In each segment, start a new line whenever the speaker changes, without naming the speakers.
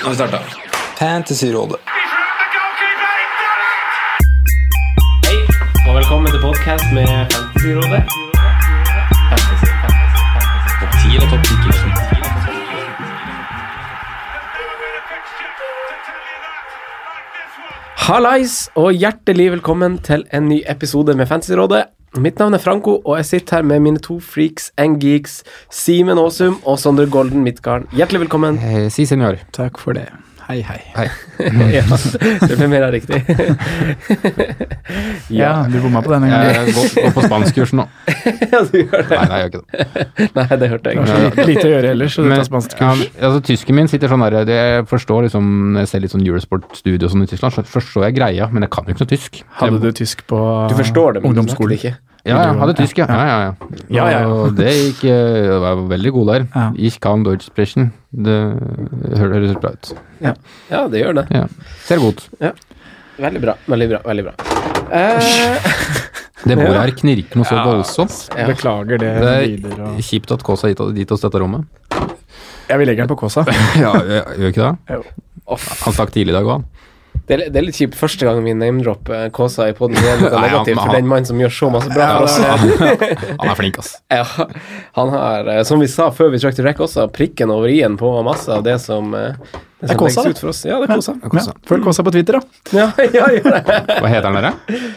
Nå har vi starta.
Fantasyrådet.
Hei, og velkommen til podcast med Fantasyrådet. Hallais, og hjertelig velkommen til en ny episode med Fantasyrådet. Mitt navn er Franco, og jeg sitter her med mine to freaks and geeks, Simen Aasum og Sondre Golden Midtgarden. Hjertelig velkommen.
Eh, Si senior.
Takk for det. Hei, hei.
ja, det ble mer av riktig. ja,
Du bomma på den en gang.
Jeg går, går Eh, på spanskkurs nå.
du gjør det.
Nei, nei, jeg gjør ikke det.
Nei, det hørte jeg
Det
ikke.
var så lite å gjøre ellers, så du
Men,
tar spanskkurs.
ja, altså, tysken min sitter sånn der Jeg forstår liksom Når jeg ser litt sånn Eurosport-studio og sånn i Tyskland, så forstår jeg greia, men jeg kan jo ikke noe tysk.
Hadde du tysk på
Du forstår det, men du snakker
ungdomsskolen?
det ikke.
Ja, jeg hadde tysk, ja. Ja, ja, ja.
Ja, ja, ja.
Og det gikk eh, Jeg var veldig god der.
Ja.
Ich kann Deutsch sprechen. Det høres bra ut.
Ja, det gjør det.
Ja. Ser godt.
Veldig bra. Veldig bra. veldig bra. Eh,
Det bordet her knirker noe så voldsomt.
Ja.
Beklager det.
Det
lyder og-
er kjipt at Kåsa gikk dit oss dette rommet.
Jeg vil legge den på Kåsa.
Ja, Gjør ikke det?
Jo.
Han stakk tidlig i dag òg, han.
det, er, det er litt kjipt første gang vi name-dropper Kåsa i poden. Det er litt
Nei, han-
negativt for
han-
den mannen som gjør så masse bra for oss.
Han er flink, ass.
Ja, han har, eh, som vi sa før vi trykte rekk også, prikken over i-en på masse av det som, eh, det som legges
Kåsa, da.
ut for oss. Ja, det er Kåsa.
Ja, følg Kåsa på Twitter, da.
Ja, ja, gjør det.
Hva heter han dere?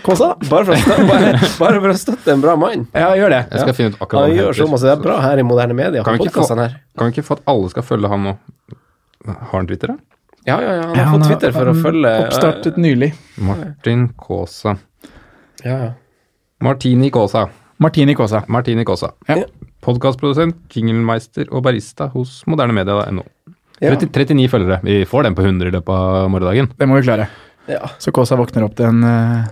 Kåsa, da. Bare for å støtte, bare, bare for å støtte en bra mann.
Ja, gjør det.
Jeg skal finne ut akkurat
Han
hva
gjør så masse det er bra her i moderne media.
Kan
På
vi, ikke få,
podcasten her.
kan vi ikke få at alle skal følge han nå? Har han Twitter, da?
Ja, ja, ja, han har
Ja, han
fått
har-
Twitter for å
han
følge eh,
Mm, Oppstartet nylig.
Martin Kaasa.
Ja, ja.
Martini Kaasa.
Martini Kåsa.
Martini Kaasa.
Ja.
Podkastprodusent, jingelmeister og barista hos modernemedia.no.
Ja.
30 39 følgere. Vi får den på 100 i løpet av morgendagen.
Det må vi klare.
Ja.
Så Kåsa våkner opp til en eh,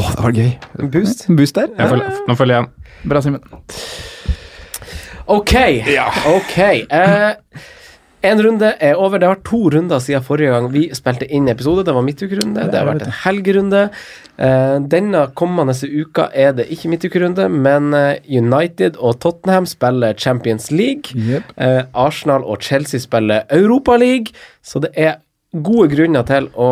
Å, det var gøy.
Boost.
boost der.
Jeg følger, nå følger jeg han.
Bra, Simen.
Ok. Ok. Eh, en runde er over. Det har vært to runder siden forrige gang vi spilte inn episode. Det var midtukerunde, det har vært en helgerunde. Eh, denne kommende uka er det ikke midtukerunde, men eh, United og Tottenham spiller Champions League.
Jep.
Eh, Arsenal og Chelsea spiller Europa League, så det er gode grunner til å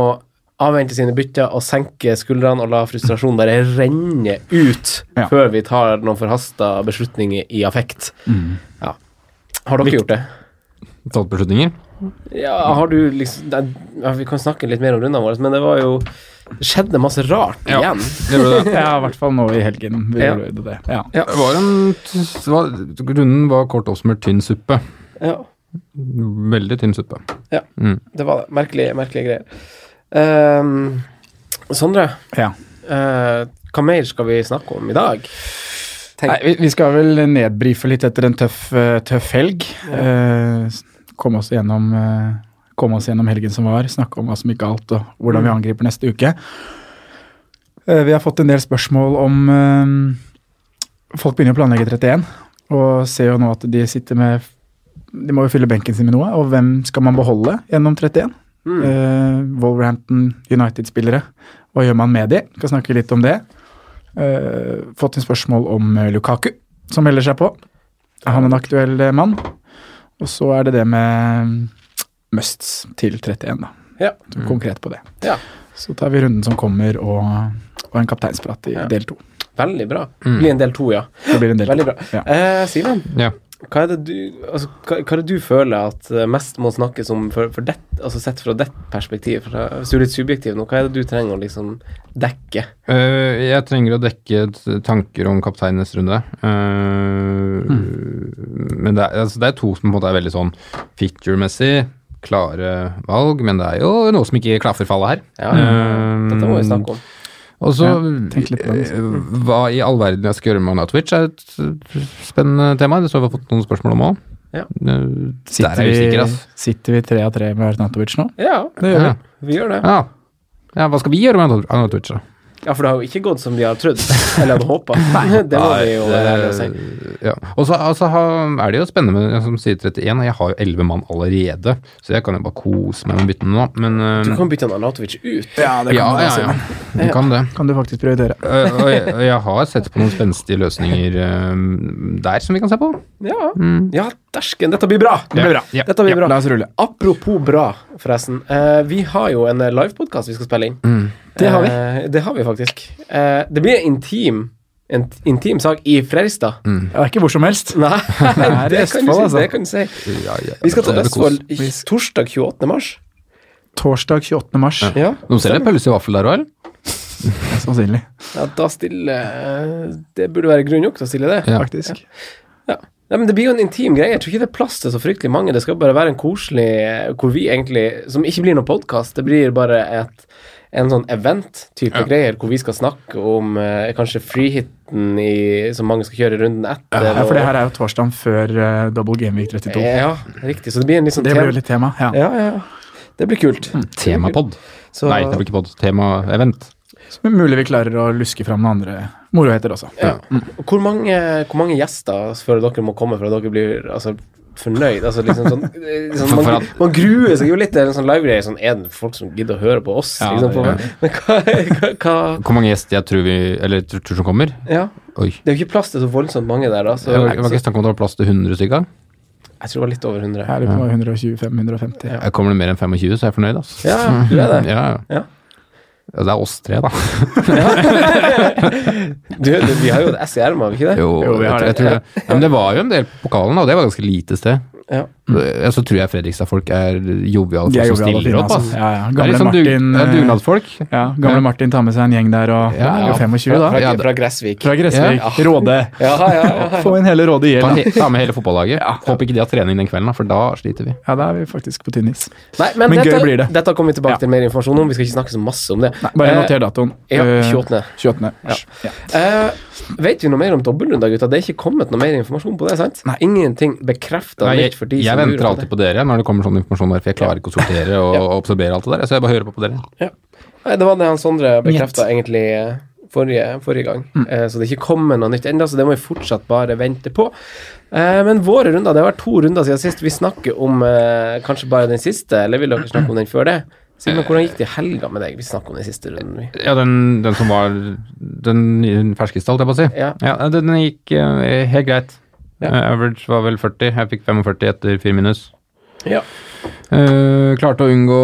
avvente sine bytter og senke skuldrene og la frustrasjonen bare renne ut
Ja.
før vi tar noen forhasta beslutninger i affekt. Ja. Har dere gjort det?
Tatt beslutninger.
Ja, har du liksom nei, ja, Vi kan snakke litt mer om rundene våre, men det var jo Det skjedde masse rart
Ja.
igjen.
Gjør du det?
Ja, i hvert fall nå i helgen. Vi
Ja.
gjorde det. Ja.
Ja.
Det var en t- det var, Runden var kort oppsummert tynn suppe.
Ja.
Veldig tynn suppe.
Det var det. Merkelige, merkelige greier. Ehm, Sondre,
ja.
eh, hva mer skal vi snakke om i dag?
Nei, vi, vi skal vel nedbrife litt etter en tøff, eh, tøff helg. Eh, s- komme, oss gjennom, eh, komme oss gjennom helgen som var, snakke om hva som gikk galt og hvordan vi angriper neste uke. Eh, vi har fått en del spørsmål om eh, Folk begynner å planlegge 31 og ser jo nå at de sitter med De må jo fylle benken sin med noe, og hvem skal man beholde gjennom 31?
Mm.
Eh, Wolverhampton United-spillere. Hva gjør man med de? Skal snakke litt om det. Eh, fått inn spørsmål om eh, Lukaku, som melder seg på. Er han en aktuell eh, mann? Og så er det det med mm, musts til 31, da.
Ja.
Så Konkret på det.
Ja.
Så tar vi runden som kommer, og, og en kapteinsprat i
Ja.
del to.
Veldig bra. Blir en del to, ja.
Det blir en del
Veldig
to.
bra.
Ja.
Eh, Simen,
Ja.
hva er det du, altså, hva, hva er det du føler at eh, mest må snakkes om for, for det, altså sett fra ditt perspektiv? Fra, hvis du er litt subjektiv nå, hva er det du trenger å liksom dekke?
Øh, jeg trenger å dekke t- tanker om kaptein neste runde. Øh,
Hmm.
Men det er, altså, det er to som på en måte er veldig sånn feature-messig klare valg, men det er jo noe som ikke klaffer fallet her.
Ja,
Mm.
Dette må vi snakke om.
Og så
Ja, tenk litt på det,
øh, Hva i all verden jeg skal gjøre med Nightwitch er et øh, spennende tema. Det står vi har fått noen spørsmål om òg.
Ja.
Der er jeg usikker, altså.
sitter vi tre av tre med Arnatovic nå?
Ja,
Det gjør
Ja.
vi.
vi gjør det.
Ja. ja, hva skal vi gjøre med Nightwitch, da?
Ja, for det har jo ikke gått som vi har trodd, eller hadde håpa. Det må vi jo være ærlige og si.
Ja. Og så altså, ha- er det jo spennende med som sier 31, og jeg har jo 11 mann allerede, så jeg kan jo bare kose meg med byttene nå, men
Du
eh,
kan bytte en Arnatovic ut.
Ja,
ja,
det kan, du da,
ja, ja,
Simen.
jeg kan det.
kan du faktisk prioritere.
Eh, og, jeg, og jeg har sett på noen spenstige løsninger eh, der som vi kan se på.
Ja, ja Dæsken, dette blir bra!
Det blir bra.
Ja.
Dette blir
Ja,
bra.
la oss rulle.
Apropos bra, forresten. Eh, vi har jo en livepodkast vi skal spille inn.
Det har vi.
Eh, det har vi faktisk. Eh, det blir en intim, en intim sak i Fredrikstad.
Det er ikke hvor som helst.
Nei,
Nei, det er
det, kan du
Østfold,
si,
altså.
det kan du si.
Ja, ja,
Vi skal til
det er kos.
Vestfold i- torsdag 28. mars.
Torsdag 28. mars.
Ja,
De selger pølse i vaffel der òg, eller?
Sannsynlig,
ja da stiller eh, Det burde være grunn nok til å stille det.
Ja.
faktisk.
Ja. Nei, men Det blir jo en intim greie. Jeg tror ikke det er plass til så fryktelig mange. Det skal bare være en koselig eh, hvor vi egentlig Som ikke blir noen podkast. Det blir bare et, en sånn event-type greier hvor vi skal snakke om eh, kanskje freehiten i- som mange skal kjøre runden etter.
Ja, for det
og-
her er jo torsdagen før eh, Double Game Week 32.
ja, riktig. Så det blir en litt sånn
Det blir jo
tema.
litt Mm. tema. Ja.
Ja, ja. ja. Det blir kult.
Temapod.
Så,
Nei, det blir ikke pod. Temaevent.
Men mulig vi klarer å luske fram noen andre moroheter også.
Ja. Hvor, mange, hvor mange gjester føler dere må komme for at dere blir altså, fornøyd? Altså, liksom sånn, eh, liksom,
For- for
man,
at-
man gruer seg jo litt til en sånn livegreie. Sånn, er det folk som gidder å høre på oss?
Ja,
liksom, på,
ja.
Men hva, hva, hva
Hvor mange gjester jeg tror vi Eller tror, tror som kommer?
Ja.
Oi.
Det er jo ikke plass til så voldsomt mange der, da. Så
Det var
jeg,
det var ikke snakk om at det var plass til 100 stykker.
tror det var litt over 100.
Jeg lurer på 125-150.
Ja.
Jeg kommer det mer enn 25, så er jeg fornøyd, ass.
Ja, du er det.
Ja.
Ja.
Ja, det er oss tre, da.
Du, du, vi har jo et SER, har vi ikke det?
Jo,
Jo, vi
jeg,
har
tror- jeg
det.
tror det. Ja, men det var jo en del på pokalen, da, og det var ganske lite sted.
Ja.
Ja, Så tror jeg Fredrikstad-folk er joviale folk
De
som
er joviale og
stiller
fine,
opp, ass.
altså. Ja,
Det
ja.
er
Gamle
liksom dug-
Martin,
det er
eh,
dugnadsfolk.
Ja, gamle
Ja.
Martin tar med seg en gjeng der,
Ja,
og det er jo
ja.
25
Fra,
da.
fra,
Ja, det-
fra Gressvik.
Fra Gressvik,
Ja.
Råde.
Ja, ja, ja, ja.
Få inn hele Råde i
Ta,
gjeld. da.
he- ta med hele fotballaget. Håper ikke de har trening den kvelden, da, for da sliter vi.
Ja, da er vi faktisk på tynn is.
Nei, men,
Men gøy
dette,
blir det.
dette kommer vi tilbake
Ja.
til mer informasjon om. Vi skal ikke snakke så masse om det.
Bare noter datoen.
Eh, ja,
Eh,
28.
28. mars. Ja.
Eh, vet vi noe mer om dobbeltrunder, gutta? Det er ikke kommet noe mer informasjon på det, sant?
Nei.
Ingenting bekrefta
Nei,
nytt
jeg
for de
jeg
som
venter
lurer på
alltid på dere når det kommer sånn informasjon der, for jeg klarer ikke å sortere og, og absorbere alt det der. Så jeg bare hører på på dere.
det. Ja. Nei, det var det han Sondre bekrefta egentlig eh, forrige, forrige gang,
Mm.
Eh, så det er ikke kommet noe nytt ennå, så det må vi fortsatt bare vente på. Eh, men våre runder, det har vært to runder siden sist. Vi snakker om eh, kanskje bare den siste, eller vil dere snakke om den før det?
Eh.
Simen, hvordan gikk det i helga med deg? Vi snakker om den siste runden, vi.
Ja, den, den som var den nye- ferskeste, holdt jeg på å si.
Ja.
den gikk eh, helt greit.
Ja.
Eh, average var vel 40. Jeg fikk 45 etter 4 minus.
Ja.
Eh, klarte å unngå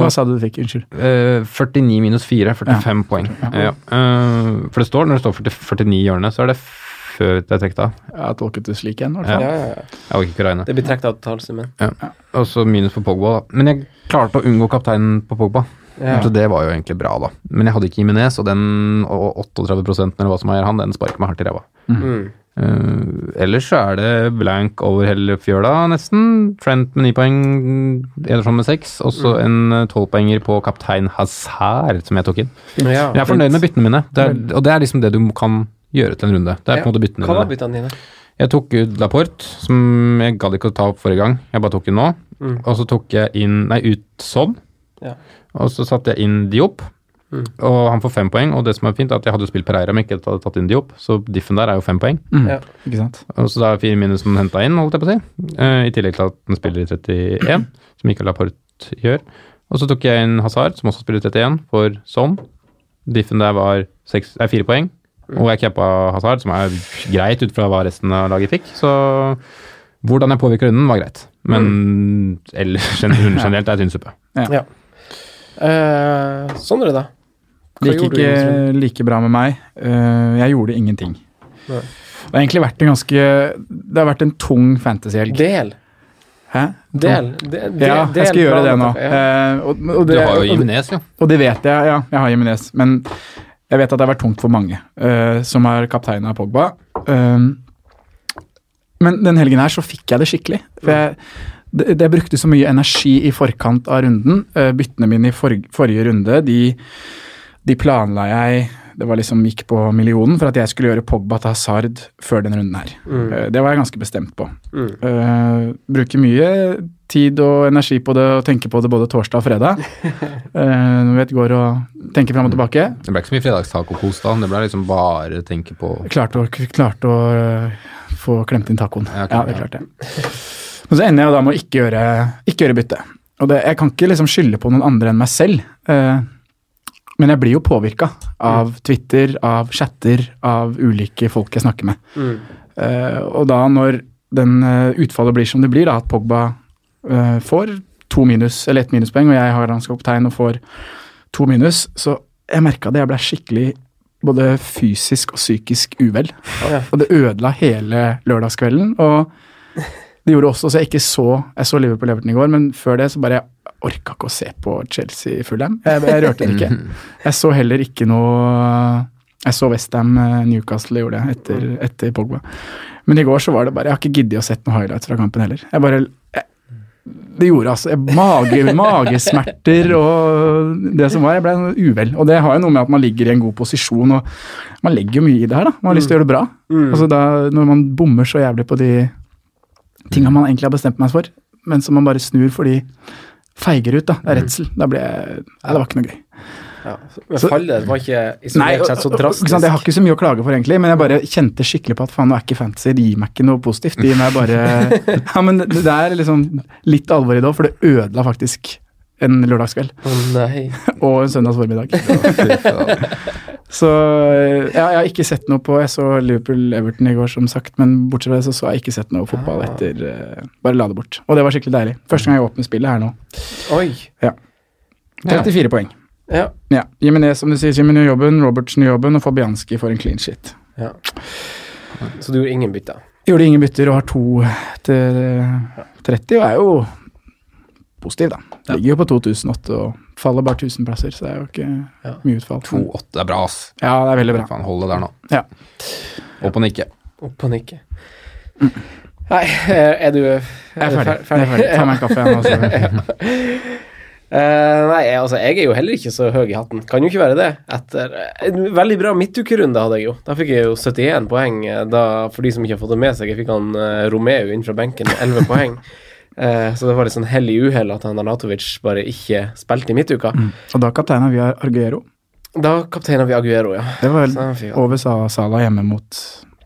Hva sa du du fikk? Unnskyld.
eh, 49 minus 4, 45 poeng. Ja. Eh, for det står, når det står 40, 49 i hjørnet, så er det før det er trukket av.
Jeg har tolket det slik igjen, i hvert
Ja,
fall.
ja, ja.
Jeg orker ikke å regne.
Det blir trukket av totalsummen.
Og så minus på Pogba. da. Men jeg klarte å unngå kapteinen på Pogba.
Ja.
Så det var jo egentlig bra, da. Men jeg hadde ikke Jimenez, og den og 38 eller hva som er han, den sparker meg hardt i ræva.
Mm.
Eh, ellers så er det blank over hele fjøla, nesten. Trent med ni poeng, Ederson med seks, og så en tolvpoenger på kaptein Hazard, som jeg tok inn.
Ja.
Men jeg er fornøyd med byttene mine, det er, og det er liksom det du kan gjøre til en runde. Det er på en måte byttene
Hva var
dine.
byttene dine?
Jeg tok ut Laporte, som jeg gadd ikke å ta opp forrige gang, jeg bare tok den nå.
Mm.
Og så tok jeg inn, nei, ut Son,
Ja.
og så satte jeg inn Diop.
Mm.
Og han får fem poeng, og det som er fint, er at jeg hadde jo spilt Pereira, men ikke hadde tatt inn Diop, så diffen der er jo fem poeng.
Mm.
Ja.
Ikke sant?
Og så da er fire minus som henta inn, holdt jeg på å si. Eh, I tillegg til at den spiller i 31, som Michael Laporte gjør. Og så tok jeg inn Hazard, som også spiller i 31, for sånn. Diffen der var seks, nei, fire poeng. Og jeg cappa Hazard, som er greit ut fra hva resten av laget fikk. Så hvordan jeg påvirker runden, var greit. Men Mm. ellers gen- runden generelt er tynnsuppe.
Eh, Sondre, da? Hva
Det gikk
gjorde du i
ikke like bra med meg. Eh, jeg gjorde ingenting.
Nei.
Det har egentlig vært en ganske Det har vært en tung fantasyhelg.
Del.
Hæ?
Del. del, del
Ja, jeg skal
del
gjøre det nå.
planen, Ja.
Eh, og, og
Du
det,
har jo
og,
Jimenez, jo.
og det vet jeg, ja. Jeg har Jimenez. Men jeg vet at det har vært tungt for mange eh, som er kaptein av Pogba. Um, men den helgen her så fikk jeg det skikkelig. For jeg, det, det brukte så mye energi i forkant av runden. Eh, byttene mine i for, forrige runde, de, de planla jeg Det var liksom gikk på millionen for at jeg skulle gjøre Pogba til Hazard før den runden her.
Mm.
Eh, det var jeg ganske bestemt på.
Mm.
Eh, bruker mye tid og energi på det og tenker på det både torsdag og fredag. Eh, du vet, går og tenker fram og tilbake.
Det ble ikke så mye fredagstacokos da. Det ble liksom bare tenke på
Klarte å, klarte å eh, få klemt inn tacoen.
Ja,
Ja,
ok,
det
ja.
klarte jeg. Men så ender jeg jo da med å ikke gjøre, ikke gjøre bytte. Og det, jeg kan ikke liksom skylde på noen andre enn meg selv. eh, men jeg blir jo påvirka av Eh, Twitter, av chatter, av ulike folk jeg snakker med.
Mm.
Eh, og da når den eh, utfallet blir som det blir, da, at Pogba eh, får to minus, eller ett minuspoeng, og jeg har hans kaptein og får to minus, så jeg merka det. Jeg ble skikkelig både fysisk og psykisk uvel.
Ja.
Og det ødela hele lørdagskvelden. Og det gjorde også så jeg ikke så Jeg så Liverpool-Everton i går, men før det så bare jeg orka ikke å se på Chelsea Fulham. Jeg, jeg rørte det ikke. Jeg så heller ikke noe Jeg så Westham Newcastle gjorde det etter, etter Pogba. Men i går så var det bare Jeg har ikke giddet å sett noen highlights fra kampen heller. Jeg bare jeg, Det gjorde altså jeg, mage, Magesmerter og det som var. Jeg ble sånn uvel. Og det har jo noe med at man ligger i en god posisjon, og man legger jo mye i det her, da. Man har lyst til å gjøre det bra. Altså da, når man bommer så jævlig på de tinga man egentlig har bestemt meg for, men som man bare snur fordi feiger ut, da. Det er redsel. Da ble jeg Nei, det var ikke noe gøy.
Ja. Men fallet var ikke isolert sett så
og- og- ikke sant,
drastisk.
Jeg har ikke så mye å klage for, egentlig, men jeg bare kjente skikkelig på at faen, nå er ikke fantasy, det gir meg ikke noe positivt. Det gir meg bare Ja, men det det er liksom litt alvor i det òg, for det ødela faktisk en lørdagskveld
Å nei.
og en søndags formiddag.
Fy faen.
Så ja, jeg har ikke sett noe på Jeg så Liverpool-Everton i går, som sagt, men bortsett fra det så, så har jeg ikke sett noe fotball
Ah.
etter eh, Bare la det bort. Og det var skikkelig deilig. Første gang jeg åpner spillet her nå.
Oi.
34 poeng.
Ja.
Ja. Jimenez, som du sier, Jimenez gjør jobben, Robertsen gjør jobben, og Fabianski får en clean shit.
ja. Så du gjorde ingen bytter?
Gjorde ingen bytter og har to til 30, og er jo positiv, da. Ligger jo på 2008 og faller bare 1000 plasser, så det er jo ikke
Ja.
mye utfall.
2-8 er bra, ass.
Ja, det er veldig bra.
Faen, hold det der nå.
Ja.
Opp og nikke.
Opp og nikke. Nei, eh, er du er
Mm. Jeg er
du
ferdig. Jeg er ferdig. Ta meg en kaffe. Jeg, nå, så.
Eh, nei, jeg- altså, jeg er jo heller ikke så høy i hatten. Kan jo ikke være det. Etter eh, en veldig bra midtukerunde hadde jeg jo. Da fikk jeg jo 71 poeng. eh, Da, for de som ikke har fått det med seg, jeg fikk han eh, Romeo inn fra benken med 11 poeng. Eh, så det var litt sånn hell i uhell at han Arnatovic bare ikke spilte i midtuka.
Og da kapteina vi Arguero.
Da kapteina vi Aguero, ja.
Det var
Så han fikk han.
over Sa- Sala hjemme mot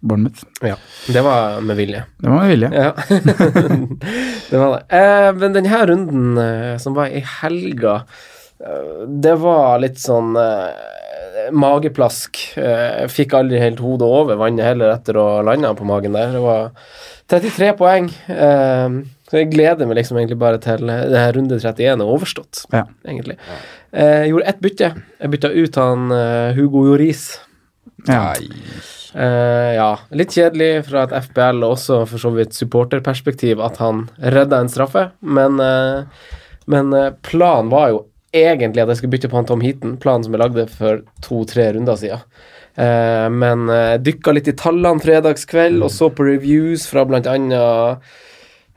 Bournemouth.
ja. Det var med vilje.
Det var med vilje.
Ja. det var det. Eh, men denne runden eh, som var i helga, eh, det var litt sånn eh, mageplask. Eh, jeg fikk aldri helt hodet over vannet heller etter å ha landa på magen der. Det var 33 poeng. Eh, så jeg gleder meg liksom egentlig bare til eh, det her runde 31 er overstått,
Ja.
egentlig. Eh, jeg gjorde ett bytte. Jeg bytta ut han eh, Hugo Joris.
Ja.
Nei.
Eh, ja. Litt kjedelig fra et FBL og også for så vidt supporterperspektiv at han redda en straffe, men, eh, men eh, planen var jo egentlig at jeg skulle bytte på han Tom Heaton, planen som jeg lagde for to-tre runder siden. Eh, men eh, jeg dykka litt i tallene fredagskveld og så på reviews fra blant annet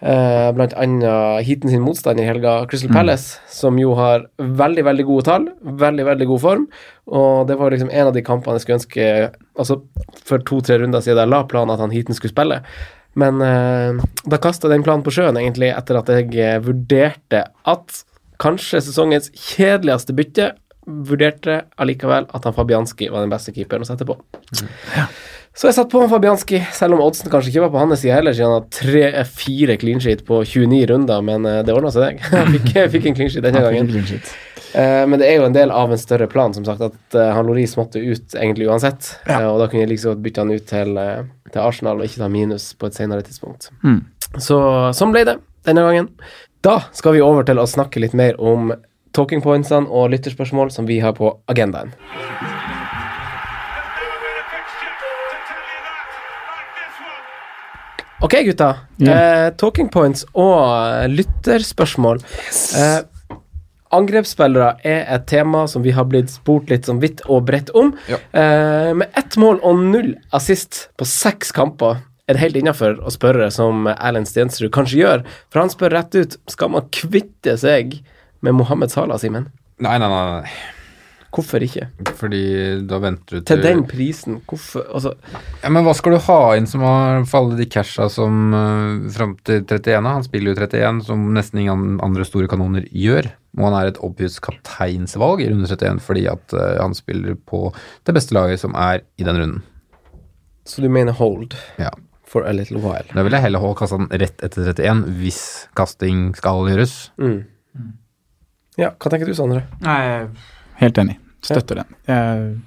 eh, blant annet Heaton sin motstander i helga, Crystal Palace, som jo har veldig, veldig gode tall, veldig, veldig god form, og det var liksom en av de kampene jeg skulle ønske Altså, for to-tre runder siden jeg la planen at han Heaton skulle spille, men eh, da kasta den planen på sjøen, egentlig, etter at jeg eh, vurderte at kanskje sesongens kjedeligste bytte vurderte allikevel at han Fabianski var den beste keeperen å sette på. Så jeg satt på han Fabianski, selv om oddsen kanskje ikke var på hans side heller, siden han har tre-fire clean sheet på 29 runder, men eh, det ordna seg, det. Jeg fikk, jeg fikk en clean sheet denne
Han fikk
gangen.
en clean sheet.
Eh, men det er jo en del av en større plan, som sagt, at eh, han Loris måtte ut egentlig uansett. Eh, og da kunne jeg like så godt bytte han ut til, eh, til Arsenal og ikke ta minus på et senere tidspunkt.
Mm.
Så sånn ble det denne gangen. Da skal vi over til å snakke litt mer om talking pointsene og lytterspørsmål som vi har på agendaen.
Never been a fixture to tell you that like this one.
Ok, gutta.
Ja.
Eh, talking points og eh, lytterspørsmål. Eh, Angrepsspillere er et tema som vi har blitt spurt litt sånn vidt og bredt om.
Ja.
Eh, med ett mål og null assist på seks kamper er det helt innafor å spørre, som Erlend Stensrud kanskje gjør, for han spør rett ut skal man kvitte seg med Mohammed Salah, Simen.
Nei, nei, nei, nei.
Hvorfor ikke?
Fordi da venter du
Til den prisen, hvorfor Altså,
Ja, Men hva skal du ha inn som har for alle de casha som uh, fram til 31? da? Han spiller jo 31, som nesten ingen andre store kanoner gjør. Og han er et obvious kapteinsvalg i runde 31 fordi at eh, han spiller på det beste laget som er i den runden.
så du mener hold
Ja.
for a little while?
Da vil jeg heller holde kassa rett etter 31 hvis kasting skal gjøres.
Mm. Ja, hva tenker du, Sondre?
Helt enig. Støtter den. Jeg-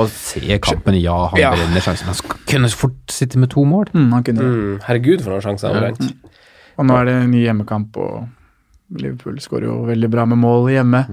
Og se kampen, ja, han
Ja.
brenner sjansen. Han sk- kunne fort sitte med to mål.
Mm, han kunne det.
Mm, herregud, for noen sjanser han
Ja.
brant.
Og nå er det en ny hjemmekamp, og Liverpool skårer jo veldig bra med mål hjemme.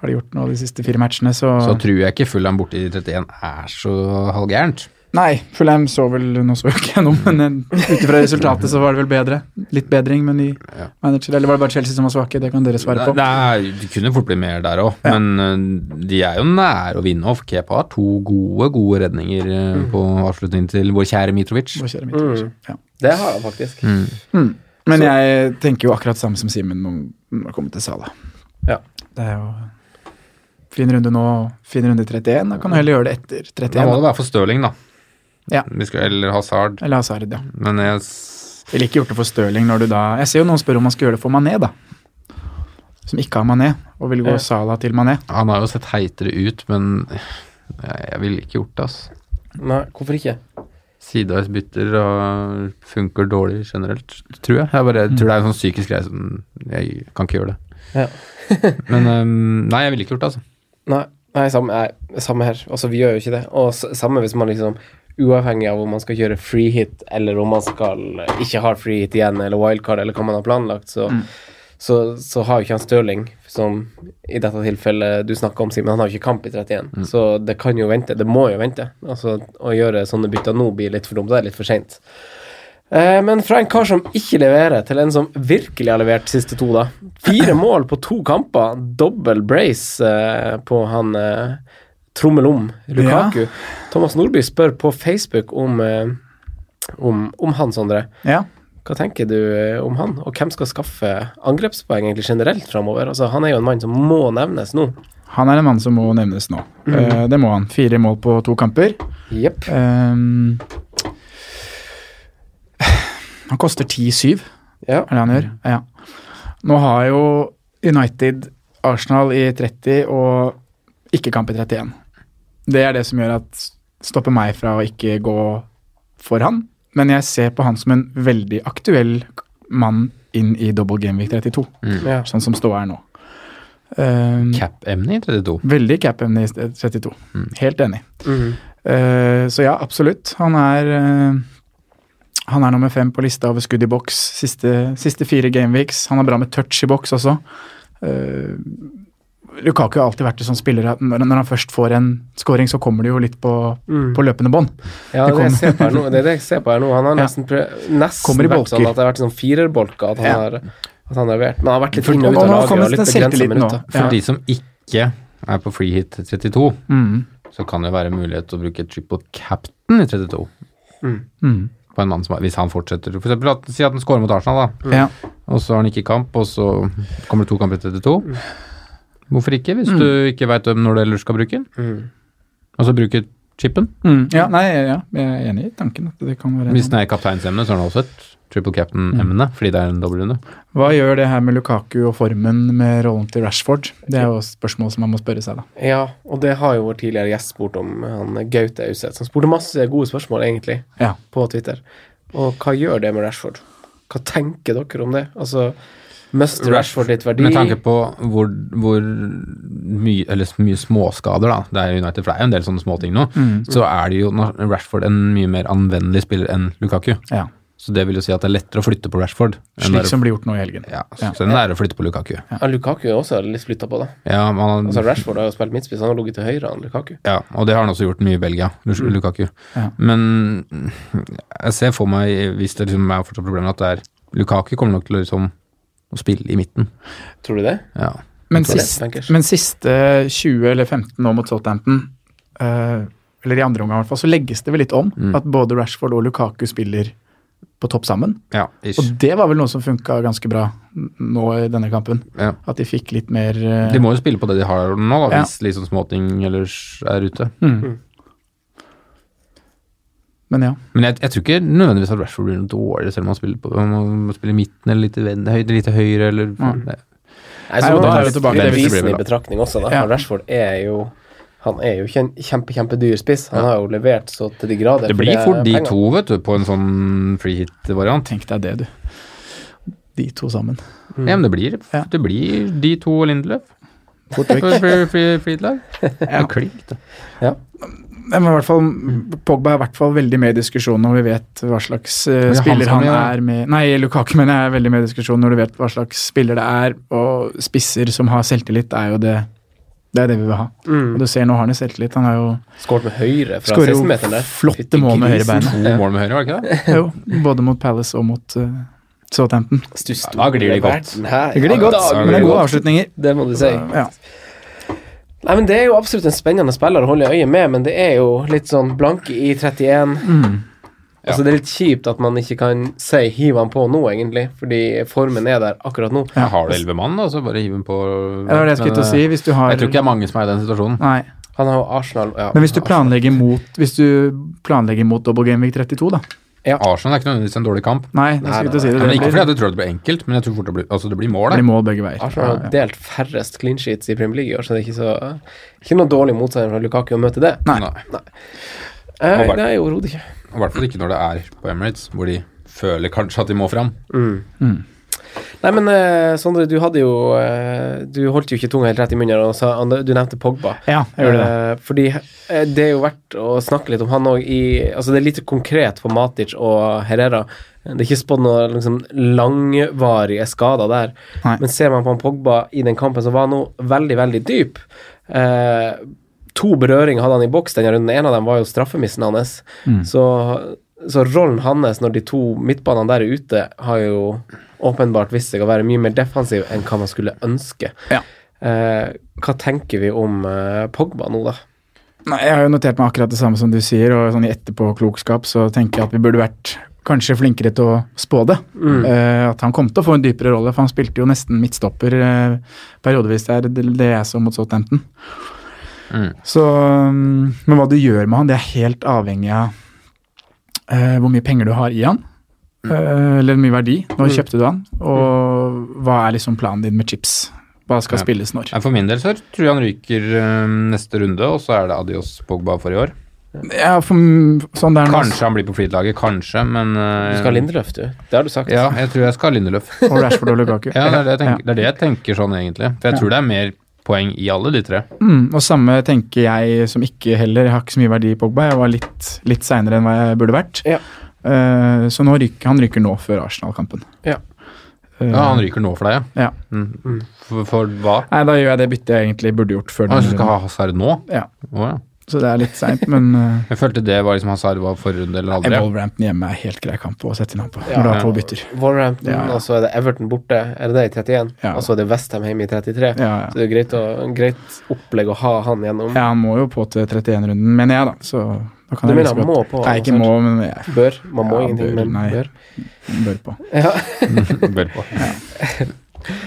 Har de gjort noe de siste fire matchene, så,
Mm. Så tror jeg ikke Fulham borte i 31 er så halvgærent.
Nei, Fulham så vel Nå så jo ikke jeg noe, men eh, ut ifra resultatet så var det vel bedre. Litt bedring med ny
Ja.
manager. Eller var det bare Chelsea som var svake? Det kan dere svare på.
Det, det er- det kunne fort bli mer der òg, men øh, de er jo nære å vinne. Og Kepa har to gode gode redninger øh,
Mm.
på avslutningen til vår kjære Mitrovic.
Må kjøre mitt.
Mm.
Ja.
Det har han faktisk.
Mm. Men jeg tenker jo akkurat samme som Simen når når det kommer til Sala.
Ja.
Det er jo fin runde nå, fin runde i 31. Da kan du heller gjøre det etter
Da må
31.
det være for Stirling, da.
Ja.
Vi skal, eller Hazard.
Eller Hazard, ja.
Men jeg s-
Ville ikke gjort det for Stirling når du da Jeg ser jo noen spør om man skal gjøre det for Mané, da. Som ikke har Mané, og vil gå
Ja.
Sala til Mané.
han har jo sett heitere ut, men jeg, jeg ville ikke gjort det, altså.
Nei, hvorfor ikke?
Sideveis bytter og funker dårlig generelt, tror jeg. Jeg
Mm.
bare jeg tror det er en sånn psykisk greie som Jeg kan ikke gjøre det.
Ja.
Men øhm, nei, jeg ville ikke gjort det, altså.
Nei, nei, samme, nei samme her. Altså, vi gjør jo ikke det. Og s- samme hvis man liksom Uavhengig av om man skal kjøre free hit, eller om man skal eh, ikke ha free hit igjen, eller wildcard, eller hva man har planlagt, så, så, så har jo ikke han Stirling, som i dette tilfellet du snakker om, Simen, han har jo ikke kamp i 31, så det kan jo vente. Det må jo vente. Altså, å gjøre sånne bytter nå blir litt for dumt. Det er litt for seint. Eh, Men fra en kar som ikke leverer, til en som virkelig har levert siste to, da. Fire mål på to kamper. Dobbel brace eh, på han eh, trommelom Lukaku. Thomas Nordby spør på Facebook om, eh, om, om han, Sondre.
Ja.
Hva tenker du eh, om han, og hvem skal skaffe angrepspoeng egentlig generelt framover? Altså, han er jo en mann som må nevnes nå.
Han er en mann som må nevnes nå. Eh, det må han. Fire mål på to kamper.
Jepp.
Ehm, han koster 10-7,
Ja.
er det han gjør. Ja. Nå har jo United Arsenal i 30 og ikke kamp i 31. Det er det som gjør at stopper meg fra å ikke gå for han. Men jeg ser på han som en veldig aktuell mann inn i double gameweek 32,
ja.
sånn som ståa er nå. Ehm,
Cap-emne i 32.
veldig cap-emne i 32. Helt enig.
Mhm.
Eh, så ja, absolutt. Han er eh, Han er nummer fem på lista over skudd i boks siste, siste fire gameweeks. Han er bra med touch i boks også. Eh, Lukaku har alltid vært en sånn spiller at når, når han først får en scoring, så kommer det jo litt på,
Mm.
på løpende bånd.
Ja, det, jeg
Det kom-
ser på her nå, det er det jeg ser på her nå. Han har
Ja.
nesten, prøv, nesten
Kommer i
vært sånn
bolker.
at det har vært sånn firerbolker at han
Ja.
har at han har levert. Men han har vært litt
For-
inn og ut
og
av
nå
laget
kommer
og litt
den
begrensa
selvtilliten nå.
minutter.
For
Ja.
de som ikke er på free hit 32,
Mm,
så kan det være mulighet til å bruke triple captain i 32
mm,
på en mann som har, hvis han fortsetter. For eksempel at, si at han scorer mot Arsenal,
Mm.
da.
ja.
Og så har han ikke kamp, og så kommer det to kamper i 32. Hvorfor ikke, hvis du
Mm.
ikke veit når du ellers skal bruke den?
Mm.
Og så bruke chipen.
Mm, ja, nei, ja, jeg er enig i tanken. At det kan være
Hvis den er i kapteinsemne, så er den også et triple captain-emne,
Mm.
fordi det er en dobbeltrunde.
Hva gjør det her med Lukaku og formen med rollen til Rashford? Det er jo spørsmål som man må spørre seg, da.
Ja, og det har jo vår tidligere gjest spurt om, han Gaute Auseth, som spurte masse gode spørsmål, egentlig,
Ja.
på Twitter. Og hva gjør det med Rashford? Hva tenker dere om det? Altså, mister Rashford litt verdi?
Med tanke på hvor, hvor mye, eller så mye småskader, da. Det er United, for det er jo en del sånne småting nå.
Mm.
Så er det jo nå er Rashford en mye mer anvendelig spiller enn Lukaku.
ja.
Så det vil jo si at det er lettere å flytte på Rashford enn det
Slik
er,
som blir gjort nå i helgen.
ja, så enn det er å flytte på Lukaku. Ja,
Ja, Lukaku er også litt flytta på, da.
man,
Altså, Rashford har jo spilt midtspiss, han har ligget til høyre enn Lukaku.
ja, og det har han også gjort mye i Belgia, Lus- Lukaku.
Mm. Ja.
Men jeg ser for meg, hvis det liksom er fortsatt problemer, at det er Lukaku kommer nok til å liksom å spille i midten.
Tror du det?
Ja.
Men,
Jeg tror det,
sist,
tenkers.
men siste 20 eller 15 nå mot Southampton, eh, eller i andre omgang i hvert fall, så legges det vel litt om at både Rashford og Lukaku spiller på topp sammen.
Ja, ish.
Og det var vel noe som funka ganske bra n- nå i denne kampen.
Ja.
At de fikk litt mer eh,
De må jo spille på det de har nå, da,
Ja.
hvis liksom småting ellers er ute.
mm. Men ja.
Men jeg, jeg tror ikke nødvendigvis at Rashford blir noe dårligere, selv om han spiller, på, om han spiller i midten eller litt, i ven- høyre, litt til høyre, eller Nei.
Nei,
Nei,
så
og
må
da er
man
vi
ta
tilbake til det vi
skulle
prisen
bli
i
med.
betraktning også. Da.
Ja.
Rashford er jo han er jo ikke en kjempe, kjempedyr spiss. Han har jo levert så til de grader.
Det
for
blir
er
fort de
penger.
to, vet du, på en sånn free hit-variant.
Tenk deg det, du. De to sammen.
Mm. Ja, men det blir,
Ja.
det blir de to og Lindeløf.
Fort vekk.
Friedler?
Ja.
Klink, da.
Nei, Men i hvert fall, Pogba er i hvert fall veldig med i diskusjonen når vi vet hva slags
det
eh,
er han
spiller
som
han
er-
er med Nei, Lukaku mener jeg er veldig med i diskusjonen når du vet hva slags spiller det er. Og spisser som har selvtillit, er jo det det er det vi vil ha.
Mm.
Og du ser nå har han jo selvtillit. Han har jo
Skåret med høyre fra
skårer
16-meteren
jo
der.
flotte
Fytti
mål med
grisen.
høyrebeinet.
To mål med høyre, var det ikke det?
Jo, både mot Palace og mot eh, Southampton.
Stuss
Ja, da glir det godt.
verden her.
Det glir
Ja,
godt,
da glir
men det er
det
gode
godt.
avslutninger.
Det må du si.
Ja.
Nei, men Det er jo absolutt en spennende spiller å holde øye med, men det er jo litt sånn blanke i 31.
Mm.
Altså Det er litt kjipt at man ikke kan si hiv han på nå, egentlig, fordi formen er der akkurat nå.
Ja.
Jeg har du elleve mann, da, så bare hiv den på
Det var det jeg skulle til å si. Hvis du har
Jeg tror ikke det er mange som er i den situasjonen.
Nei.
Han har jo Arsenal ja,
Men hvis du planlegger mot Hvis du planlegger mot Double Game Week 32, da
Arsenal er ikke nødvendigvis en dårlig kamp.
Nei, det
Nei,
skulle jeg til å si det.
Men
Det
ikke fordi
blir,
at du tror det blir enkelt, men jeg tror fort det blir, altså det blir mål. Da.
det blir mål begge veier.
Arsenal har
Ja, ja.
delt færrest clean sheets i Premier League i år, så det er ikke så Ikke noe dårlig motstander fra Lukaku å møte det.
Nei.
Eh,
Og Bar-
nei, overhodet ikke.
Og I hvert fall ikke når det er på Emirates, hvor de føler kanskje at de må fram.
Nei, men eh, Sondre, du hadde jo eh, Du holdt jo ikke tunga helt rett i munnen, og sa, du nevnte Pogba.
Ja, jeg gjorde det.
Eh, fordi eh, det er jo verdt å snakke litt om han òg i Altså, det er lite konkret for Matic og Herrera. Det er ikke spådd noen liksom, langvarige skader der.
Nei.
Men ser man på han Pogba i den kampen som var nå, veldig, veldig dyp eh, To berøringer hadde han i boks denne runden. En av dem var jo straffemissen hans. Så, så rollen hans når de to midtbanene der er ute, har jo åpenbart vist seg å være mye mer defensiv enn hva man skulle ønske.
Ja.
Eh, hva tenker vi om eh, Pogba nå, da?
Nei, jeg har jo notert meg akkurat det samme som du sier, og sånn i etterpåklokskap så tenker jeg at vi burde vært kanskje flinkere til å spå det.
Mm.
Eh, at han kom til å få en dypere rolle, for han spilte jo nesten midtstopper eh, periodevis der, det, det jeg så mot Southampton.
Mm.
Så, mm, men hva du gjør med han, det er helt avhengig av eh, hvor mye penger du har i han.
Mm.
Eh, eller hvor mye verdi. Når kjøpte du han, og hva er liksom planen din med chips? Hva skal
Mm. Ja.
spilles når?
Nei, For min del så tror jeg han ryker øhm, neste runde, og så er det adios Pogba for i år.
Ja, for, mm, sånn det er nå,
Kanskje han blir på Freed-laget, kanskje, men øh,
Eh,
Du skal ha Lindeløf, du. Det har du sagt.
Ja, jeg tror jeg skal ha Lindeløf.
og Rashford og Lukaku.
Ja, det er det, jeg tenker, det er det jeg tenker sånn, egentlig. For jeg tror det er mer poeng i alle de tre.
Mm, og samme tenker jeg som ikke heller. Jeg har ikke så mye verdi i Pogba. Jeg var litt, litt seinere enn hva jeg burde vært.
Ja.
Eh, så nå ryker, han ryker nå før Arsenal-kampen.
Ja.
Eh,
Mm. Ja, Han ryker nå for deg,
Ja.
Mm. For, for hva?
Nei, da gjør jeg det byttet jeg egentlig burde gjort før
Ah,
den
så skal
runden.
ha Hazard nå?
Ja,
Å, ja.
så det er litt seint, men eh,
Jeg følte det var liksom Hazard var forrige runde eller
en
aldri.
Wolverhampton hjemme er helt grei kamp å sette inn han på.
Ja.
Når du har to bytter.
Warhampton,
Ja, ja.
og så er det Everton borte. Er det det i 31?
Ja.
Og så er det Westham hjemme i 33.
Ja,
Så
ja.
det er jo greit, å- greit opplegg å ha han gjennom.
ja, han må jo på til 31-runden, mener jeg, da. Så da kan
Du
jeg
mener han
like så godt-
må på?
Nei, ikke må, men jeg
Bør. Man må
Ja,
ingenting,
bør,
men
nei.
bør.
bør på.
Ja.
Vel på.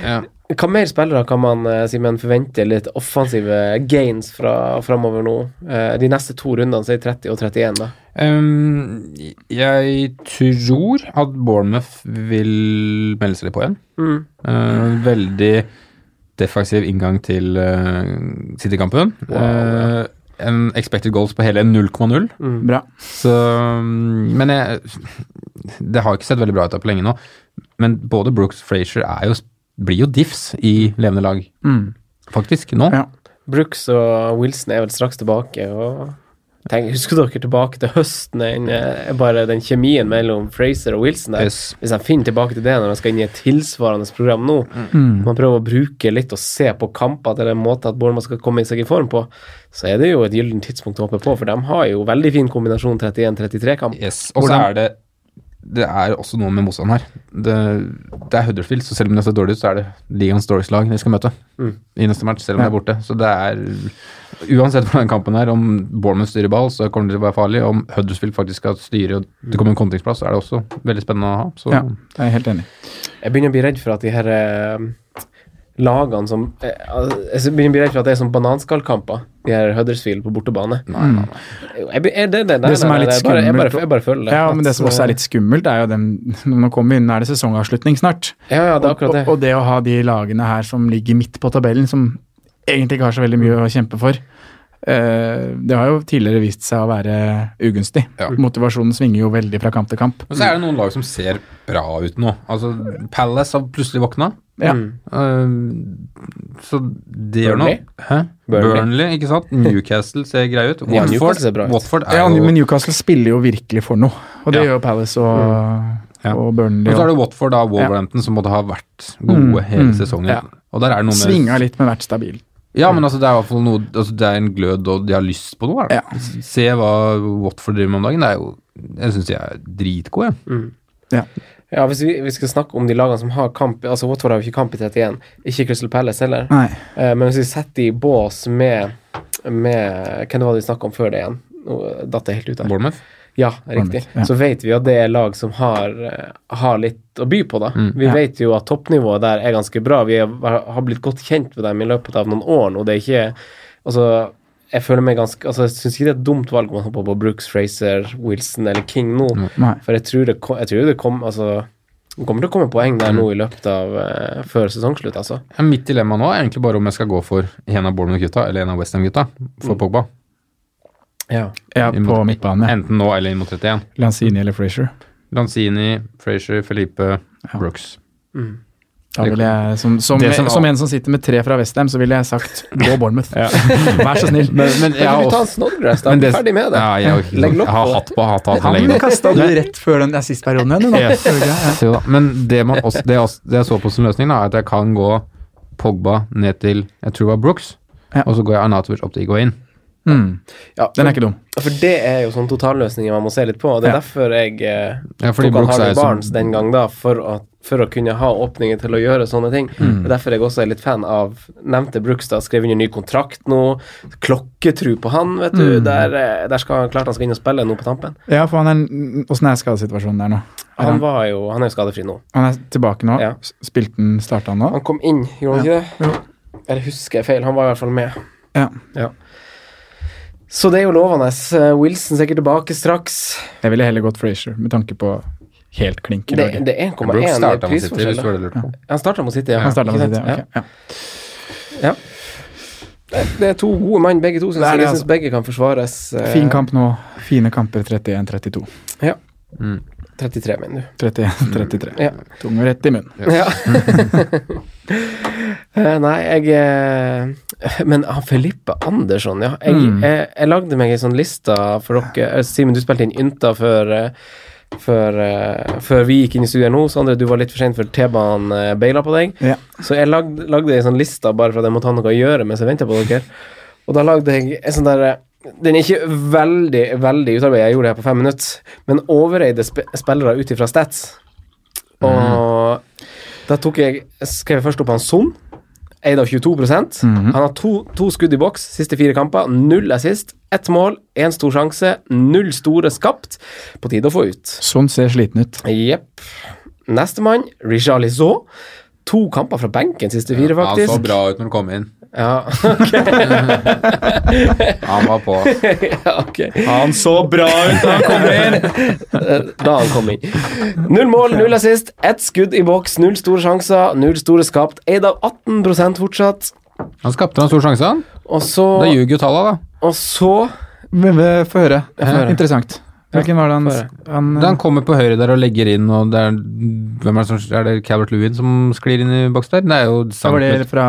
Ja.
Hva mer spillere kan man eh, Simen, forvente litt offensive gains fra framover nå? Eh, De neste to rundene så er det 30 og 31, da.
Ehm, jeg tror at Bournemouth vil melde seg litt på igjen.
Mm.
Eh, veldig defensiv inngang til eh, City-kampen.
Wow,
Eh, en expected goals på hele 0,0.
Mm.
Bra.
Så mm, Men jeg Det har ikke sett veldig bra ut her på lenge nå. Men både Brooks Frazier er jo, blir jo diffs i levende lag,
Mm.
faktisk, nå.
Ja.
Brooks og Wilson er vel straks tilbake. og tenk, Husker dere tilbake til høsten, den, eh, bare den kjemien mellom Fraser og Wilson der?
Yes.
Hvis de finner tilbake til det når de skal inn i et tilsvarende program nå, man prøver å bruke litt og se på kamper til den måten at Bournemouth skal komme seg i form på, så er det jo et gyllent tidspunkt å hoppe på, for de har jo veldig fin kombinasjon 31-33-kamp.
Yes. Og så
Hvordan-
er det det er også noe med motstand her. Det, det er Huddersfield, så selv om det ser dårlig ut, så er det ligaens dårligste lag de skal møte i neste match, selv om det
Mm. Ja.
er borte. Så det er Uansett hvordan kampen er, om Bournemouth styrer ball, så kommer det til å være farlig. Om Huddersfield faktisk skal styre og det kommer en kontringsplass, så er det også veldig spennende å ha. Så
ja, jeg er helt enig.
Jeg begynner å bli redd for at de her eh, lagene som eh, al- Jeg begynner å bli redd for at det er som bananskallkamper, de her Huddersfield på bortebane. Jo, Jeg, be- er det, det, nei,
Det som
nei,
er
nei,
litt
jeg bare, jeg,
skummelt-
bare, jeg bare føler det.
Ja, men det som
At,
også er litt skummelt, er jo den Nå kommer vi inn, nå er det sesongavslutning snart.
Ja, eh, ja, det er akkurat det.
Og, og det å ha de lagene her som ligger midt på tabellen, som egentlig ikke har så veldig mye å kjempe for, eh, det har jo tidligere vist seg å være ugunstig.
Ja.
Motivasjonen svinger jo veldig fra kamp til kamp.
Men så er det noen lag som ser
Mm.
bra ut nå. Altså, Palace har plutselig våkna.
Ja.
Eh, så det gjør noe.
Burnley?
Hæ?
Burnley.
Burnley, ikke sant? Newcastle ser greie ut.
Ja, Newcastle ser bra ut.
Watford er
Ja,
jo
men Newcastle spiller jo virkelig for noe, og det
Ja.
gjør Palace og, Mm.
Ja.
og
Men
Burnley.
så er
Og
det Watford da, Wolverhampton, som måtte ha vært gode
Mm,
hele
mm,
sesongen.
ja.
Og der er det noe med
svinga litt, men vært stabil.
Ja, men altså, det er i hvert fall noe altså, Det er en glød, og de har lyst på noe. da.
Ja.
Se hva Watford driver med om dagen. Det er jo Jeg syns de er dritgode. jeg.
Ja, hvis vi, vi skal snakke om de lagene som har kamp Altså Watford har jo ikke kamp i 31, ikke Crystal Palace heller.
Nei.
Eh, men hvis vi setter de i bås med, med Hvem det var det vi snakka om før det igjen? Nå datt det helt ut her.
Bournemouth.
Ja, riktig.
Ja.
Så vet vi at det er lag som har, eh, har litt å by på, da. Vi vet jo at toppnivået der er ganske bra. Vi er, har blitt godt kjent med dem i løpet av noen år nå. Det er ikke Altså, jeg føler meg ganske Altså, jeg syns ikke det er et dumt valg om man hopper på Brooks, Fraser, Wilson eller King nå.
Nei.
For jeg tror det, ko- jeg tror det kom, altså, det kommer til å komme poeng der nå i løpet av eh, før sesongslutt, altså.
Ja, mitt dilemma nå er egentlig bare om jeg skal gå for en av Bournemouth-gutta eller en av Westham-gutta
Mm.
for Pogba.
Ja.
Ja,
Imot-
på midtbane.
Enten nå eller inn mot 31.
Lanzini eller Frazier.
Lanzini, Frazier, Felipe, Brooks.
Da vil jeg, som, som,
Det som
som,
var-
en som sitter med tre fra Westham, så ville jeg sagt gå Bournemouth. Vær så snill.
Men, men jeg
Kan
har
ikke du ta
også
en Snodgrass, da?
men det-
Ferdig med det.
Ja, jeg, har ikke-
Legg lokk
jeg har
på.
hatt på hatt, hatt, hatt lenge. nå.
kasta du rett før den assist-perioden igjen,
Yes. Så da, Men det, man også, det, jeg også, det jeg så på som løsning, da, er at jeg kan gå Pogba ned til jeg tror det var Brooks,
Ja.
og så går jeg Arnatovic opp til Iguain.
Mm.
Ja,
Den er ikke dum.
For det er jo sånn totalløsninger man må se litt på, og det er
Ja.
derfor jeg eh,
Ja, fordi
tok han
Brooks er
Harvey
så-
Barnes den gang, da, for å, for å kunne ha åpninger til å gjøre sånne ting.
Mm.
Det er derfor jeg også er litt fan av nevnte Brooks, da, skrev under ny kontrakt nå, klokketru på han, vet du.
Mm.
Der, eh, der skal han klart han skal inn og spille nå på tampen.
Ja, for han er, Åssen er skadesituasjonen der nå? Er
Han
han,
var jo, han er jo skadefri nå.
han er tilbake nå?
Ja.
S- Spilte han, starta han nå?
Han kom inn, gjorde han ikke det? Eller husker jeg feil? Han var i hvert fall med.
Ja.
Så det er jo lovende. Eh, Wilson sikkert tilbake straks.
Jeg ville heller gått Frazier, med tanke på helt klink i
Det,
laget.
det er 1,1
Brooks
i
starta med City, hvis du
prisforskjell.
var det lurt på.
Han starta mot City, ja.
Han starta
Ikke sant?
med det,
Ja.
ok. Ja.
Det er to gode mann, begge to. Synes
Det er
jeg.
det,
jeg synes
altså.
begge kan forsvares. eh,
Fin kamp nå. Fine kamper 31-32.
Ja.
Mm.
33, mener du.
31-33.
Ja.
Tunge rett i munnen.
ja. Eh, Nei, jeg eh, Men han Felippe Andersson, ja. Jeg, jeg, jeg lagde meg ei sånn liste for dere. Eh, Simen, du spilte inn Ynta før eh, før, eh, før vi gikk inn i studiet nå, så André, du var litt for sein før T-banen eh, beila på deg.
Ja.
Så jeg lagde, lagde ei sånn liste bare for at jeg måtte ha noe å gjøre mens jeg venta på dere. Og da lagde jeg en sånn der eh, Den er ikke veldig, veldig utarbeidet, jeg gjorde det her på fem minutter, men overeide sp spillere ut ifra stats. Og da tok jeg skrev jeg først opp han Son. Eid av 22 Han har to, to skudd i boks siste fire kamper. Null assist. Ett mål, én stor sjanse. Null store skapt. På tide å få ut.
Sånn ser sliten ut.
Jepp. Nestemann, Rijalizot. To kamper fra benken siste fire,
Han så
faktisk.
altså, bra ut når han kom inn.
Ja,
Han var på.
ja ok.
Han så bra ut da han kom inn!
da han kom inn. Null mål, null assist, ett skudd i boks, null store sjanser, null store skapt. Eid av 18 fortsatt.
Han skapte en stor sjanse, han.
Og
Da
så,
ljuger jo tallene, da.
og så
Men eh, Få høre.
høre.
Interessant. Hvilken var det han, han, eh,
Da han kommer på høyre der og legger inn, og det er Hvem er det som Er det Calvert Lewin som sklir inn i boks der? Det er jo
Var det
Sanchez.
fra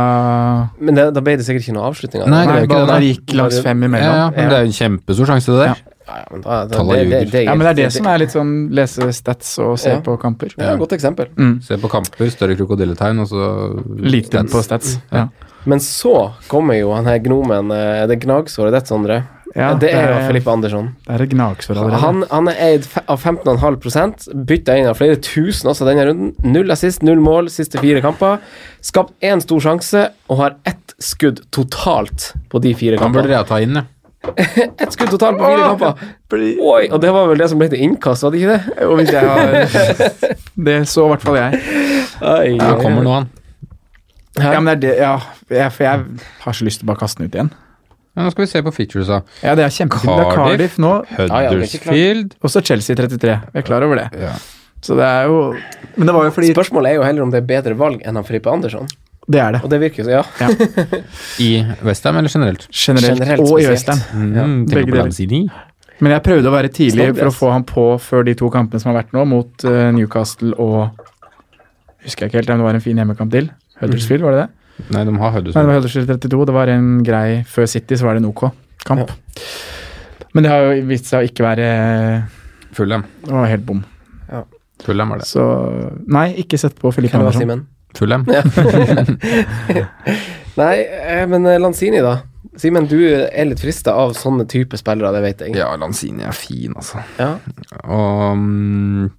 Men det, da ble det sikkert ikke noe avslutning av det.
Nei, det
Nei,
er jo ikke
ballen
det.
der
da.
gikk langs fem
Ja,
imellom.
ja, men det er jo en kjempestor sjanse, det der.
Ja, ja, men da, da,
Tallet
det, det,
ljuger.
det,
Ja, men det er det som er litt sånn lese stats og se
Ja.
på kamper.
Det er et godt eksempel.
Se på kamper, større krokodilletegn, og så
Lite på stats. Ja.
Men så kommer jo han her gnomen, eh, det gnagsåret ditt, Sondre.
Ja,
det er jo
det er-
Filippe Andersson.
Det er et gnagsår allerede.
Han, han er eid fe- av 15,5 bytta inn av flere tusen også denne runden. Null assist, null mål, siste fire kamper. Skapt én stor sjanse og har ett skudd totalt på de fire
Han burde
kampene.
jeg ta inn, ja.
Ett skudd totalt på fire kamper!
blir-
Oi, og det var vel det som ble til innkast, var det ikke det?
Og hvis jeg har Det så i hvert fall jeg.
Ai,
Han kommer nå, han.
Ja, men det er det Ja, jeg, for jeg har så lyst til å bare kaste den ut iggen.
Ja, nå skal vi se på features, da.
Ja, det er kjempefint. Det er
Cardiff.
Cardiff nå,
ja, det er ikke klart.
Huddersfield
og så Chelsea 33. Jeg er klar over det.
Ja.
Så det er jo Men det var jo fordi
Spørsmålet er jo heller om det er bedre valg enn han Filippe Andersson.
Det er det.
Og det virker jo så, ja.
i Westham, eller generelt?
Generelt,
Generelt
og i
spesielt.
Westham.
Mm,
begge
tenker på
deler.
Lanzini.
Men jeg prøvde å være tidlig
Snodgrass.
for å få han på før de to kampene som har vært nå, mot eh, Newcastle og Husker jeg ikke helt, men det var en fin hjemmekamp til. Huddersfield, var det det?
Nei, de har
Nei, det var
Huddersfield.
Huddersfield 32. Det var en grei før City, så var det en OK kamp. Men det har jo vist seg å ikke være
Fulham.
Det var helt bom.
Fulham er det.
Så nei, ikke sett på Filippe
Hva var
Andersson.
Simen?
Fulham.
Ja. Nei, eh, men eh, Lanzini, da. Simen, du er litt frista av sånne type spillere, det vet jeg.
Ja, Lanzini er fin, altså.
Ja.
Og mm,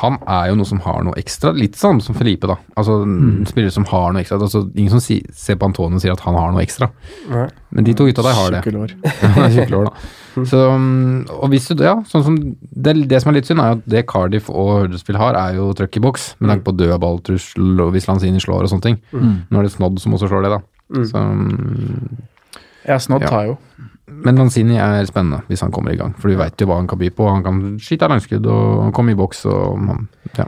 han er jo noe som har noe ekstra. Litt sånn som Felipe, da. Altså
Mm.
en spiller som har noe ekstra. Altså, ingen som si, ser på Antonio og sier at han har noe ekstra.
Nei.
Men de to gutta der har det.
Sykkelår.
Han er tjukke lår, da. Så, mm, og hvis du, ja, sånn som det, det som er litt synd, er jo at det Cardiff og Huddersfield har, er jo trøkk i boks. Med tanke på død balltrussel og hvis Lanzini slår og sånne ting. Nå er det Snodd som også slår det, da. Så, mm,
Ja, Snodd
Ja.
tar jo.
men Lanzini er spennende hvis han kommer i gang. For du veit jo hva han kan by på. Han kan skyte av langskudd og komme i boks og han- ja.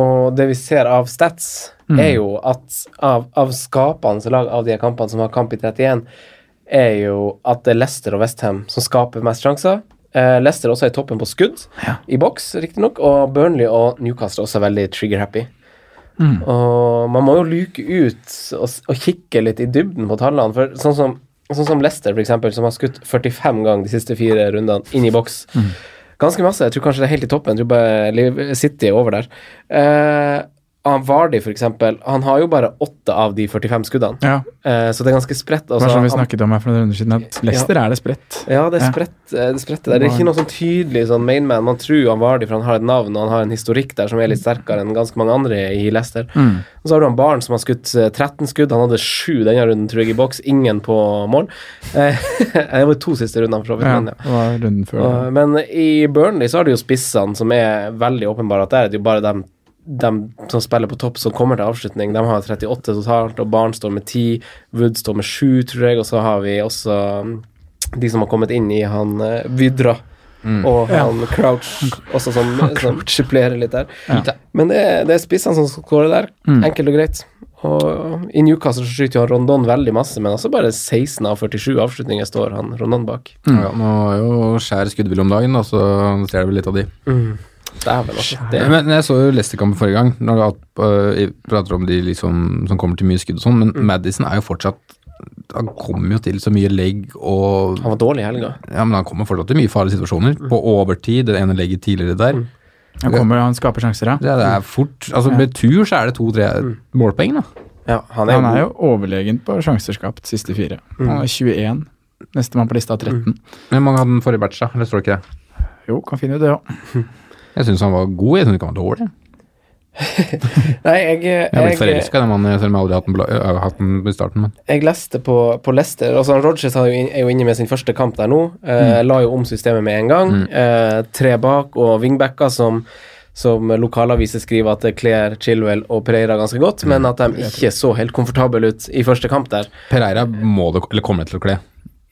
Og det vi ser av stats,
Mm.
er jo at av, av skapende lag av de her kampene som har kamp i 31, er jo at det er Leicester og Westham som skaper mest sjanser. Eh, Leicester også er i toppen på skudd, i boks riktignok, og Burnley og Newcastle også er veldig trigger-happy. Og man må jo luke ut og, s- og kikke litt i dybden på tallene, for sånn som Sånn som Leicester, for eksempel, som har skutt 45 ganger de siste fire rundene inn i boks.
Mm.
Ganske masse. Jeg tror kanskje det er helt i toppen. Jeg tror bare Liv- City er over der. Eh, han Vardy, for eksempel, han har jo bare åtte av de 45 skuddene.
Ja,
Eh, så det er ganske spredt.
det
Altså,
var som vi
han-
snakket om her for noen runder siden, at Leicester er det spredt.
ja, det er
Ja.
spredt, eh, det er spredt der. Det er ikke noe sånn tydelig sånn mainman. Man tror han Vardy, for han har et navn og han har en historikk der som er litt sterkere enn ganske mange andre i Leicester.
Mm.
Og så har du han Barn som har skutt eh, 13 skudd. Han hadde sju denne runden, tror jeg, i boks. Ingen på mål. Eh, det var de to siste rundene, for så vidt.
Ja,
men ja.
det var runden før.
Og- Men i Burnley så har du jo spissene som er veldig åpenbare at der er det jo bare dem, dem som spiller på topp som kommer til avslutning. De har 38 totalt, og Barn står med 10, Wood står med 7, tror jeg, og så har vi også mm, de som har kommet inn i han eh, Vydra. Og han Mm. Crouch også, som, som supplerer litt der. Men det er, det er spissene som skårer der. Enkelt og greit. Og I Newcastle så skyter jo han Rondon veldig masse, men altså bare 16 av 47 avslutninger står han Rondon bak.
Mm. Ja, nå er jo skjær skuddvill om dagen, da, så ser du vel litt av de.
Dæven, altså. Det er
Men jeg så jo Leicester-kampen forrige gang, når vi at- øh, jeg prater om de liksom, som kommer til mye skudd og sånn, men
Mm.
Madison er jo fortsatt Han kommer jo til så mye legg og
Han var dårlig i helga.
Ja, men han kommer fortsatt til mye farlige situasjoner.
Mm.
På overtid, det ene legget tidligere der.
Han kommer, han skaper sjanser, ja.
Det er fort Altså, med tur så er det to-tre
Mm.
målpoeng, da.
Ja, han er,
Han er
god.
jo overlegen på sjanser skapt, siste fire. Han
Mm.
er 21. Nestemann på lista er 13.
Men mange hadde den forrige batch, da. Eller står det ikke det?
Jo, kan finne ut det òg.
Jeg syns han var god, jeg syns ikke han var dårlig.
Nei, jeg,
Jeg har blitt
jeg,
forelska i den mannen, selv om jeg aldri har hatt den bla- øh, hatt den i starten, men
jeg leste på, på Leicester altså Rodgers har jo inn- er jo inne med sin første kamp der nå. Eh,
Mm.
La jo om systemet med en gang. Eh, tre bak og wingbacker som, som lokalaviser skriver at det kler Chilwell og Pereira ganske godt, men at de ikke så helt komfortable ut i første kamp der.
Pereira må det, eller kommer det til å kle.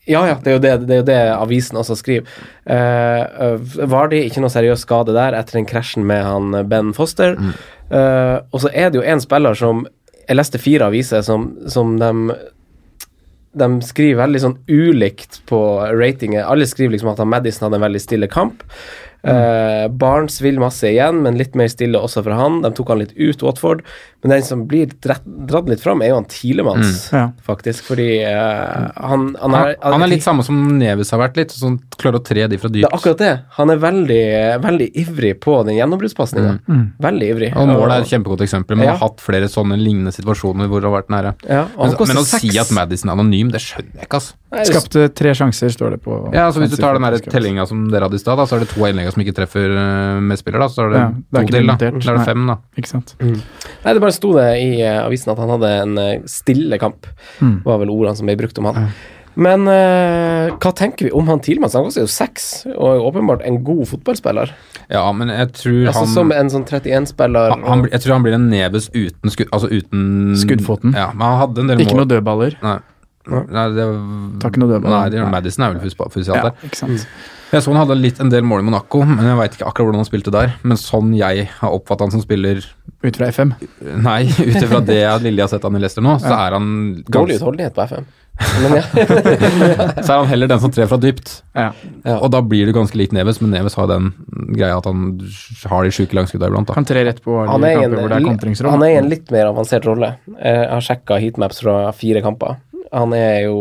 Ja, ja, det er jo det, det, er jo det avisen også skriver. Eh, eh, var det ikke noe seriøs skade der etter den krasjen med han eh, Ben Foster? Eh, og så er det jo en spiller som Jeg leste fire aviser som, som de de skriver veldig sånn ulikt på ratingen. Alle skriver liksom at han Madison hadde en veldig stille kamp. Eh, Barnes vil masse igjen, men litt mer stille også fra han. De tok han litt ut, Watford. Men den som blir dratt, dratt litt fram, er jo han Tilemanns,
Mm. Ja.
faktisk. Fordi eh, han, han,
Han,
er,
han er litt sånn samme som Neves har vært litt, sånn klarer å tre de fra
altså, Det er
dypt.
akkurat det. Han er veldig, veldig ivrig på den gjennombruddspasninga. Veldig ivrig.
Mm. Og målet er et kjempegodt eksempel, men
Ja.
har hatt flere sånne lignende situasjoner hvor det har vært nære.
Ja, og han
men,
koster
men å si
seks.
at Madison er anonym, det skjønner jeg ikke, altså.
Nei, det-
Skapte tre sjanser, står det på.
Ja, altså Hvis du tar den der
Fantasy Football.
tellinga som dere hadde i stad, da, så er det to av innleggene som ikke treffer eh, medspiller. da, Så er det
Ja, det er
to
ikke
til, da.
notert,
Da er
nei.
det fem, da.
Ikke sant.
Mm.
Nei, det bare sto det i eh, avisen at han hadde en eh, stille kamp,
Mm.
var vel ordene som ble brukt om han. Men eh, hva tenker vi om han Tilmans? Han koster jo seks, og er åpenbart en god fotballspiller.
Ja, men jeg tror
Altså
han,
Som en sånn 31-spiller.
han, han blir- Jeg tror han blir en Neves uten skudd... Altså uten
Skuddfoten.
Ja, men han hadde en del
Ikke noe dødballer.
Nei. Nei, det
Tar ikke noe dødball.
Nei, det gjør Madison er vel fus- fusialt
Ja,
der.
ikke sant.
Jeg så han hadde litt en del mål i Monaco, men jeg veit ikke akkurat hvordan han spilte der. Men sånn jeg har oppfatta han som spiller
Ut fra FM.
Nei, ut ifra det jeg Lilje har sett han i Leicester nå, så er han
Dårlig
ganske
utholdenhet på FM. Men ja.
Så er han heller den som trer fra dypt.
Ja.
Ja.
Og da blir du ganske lik Neves, men Neves har den greia at han har de sjuke langskudda iblant. Da.
Kan tre rett på alle
Han er, i en,
kamper hvor det er kontringsrom.
han er i en litt mer avansert rolle. Eh, Jeg har sjekka heatmaps fra fire kamper. Han er jo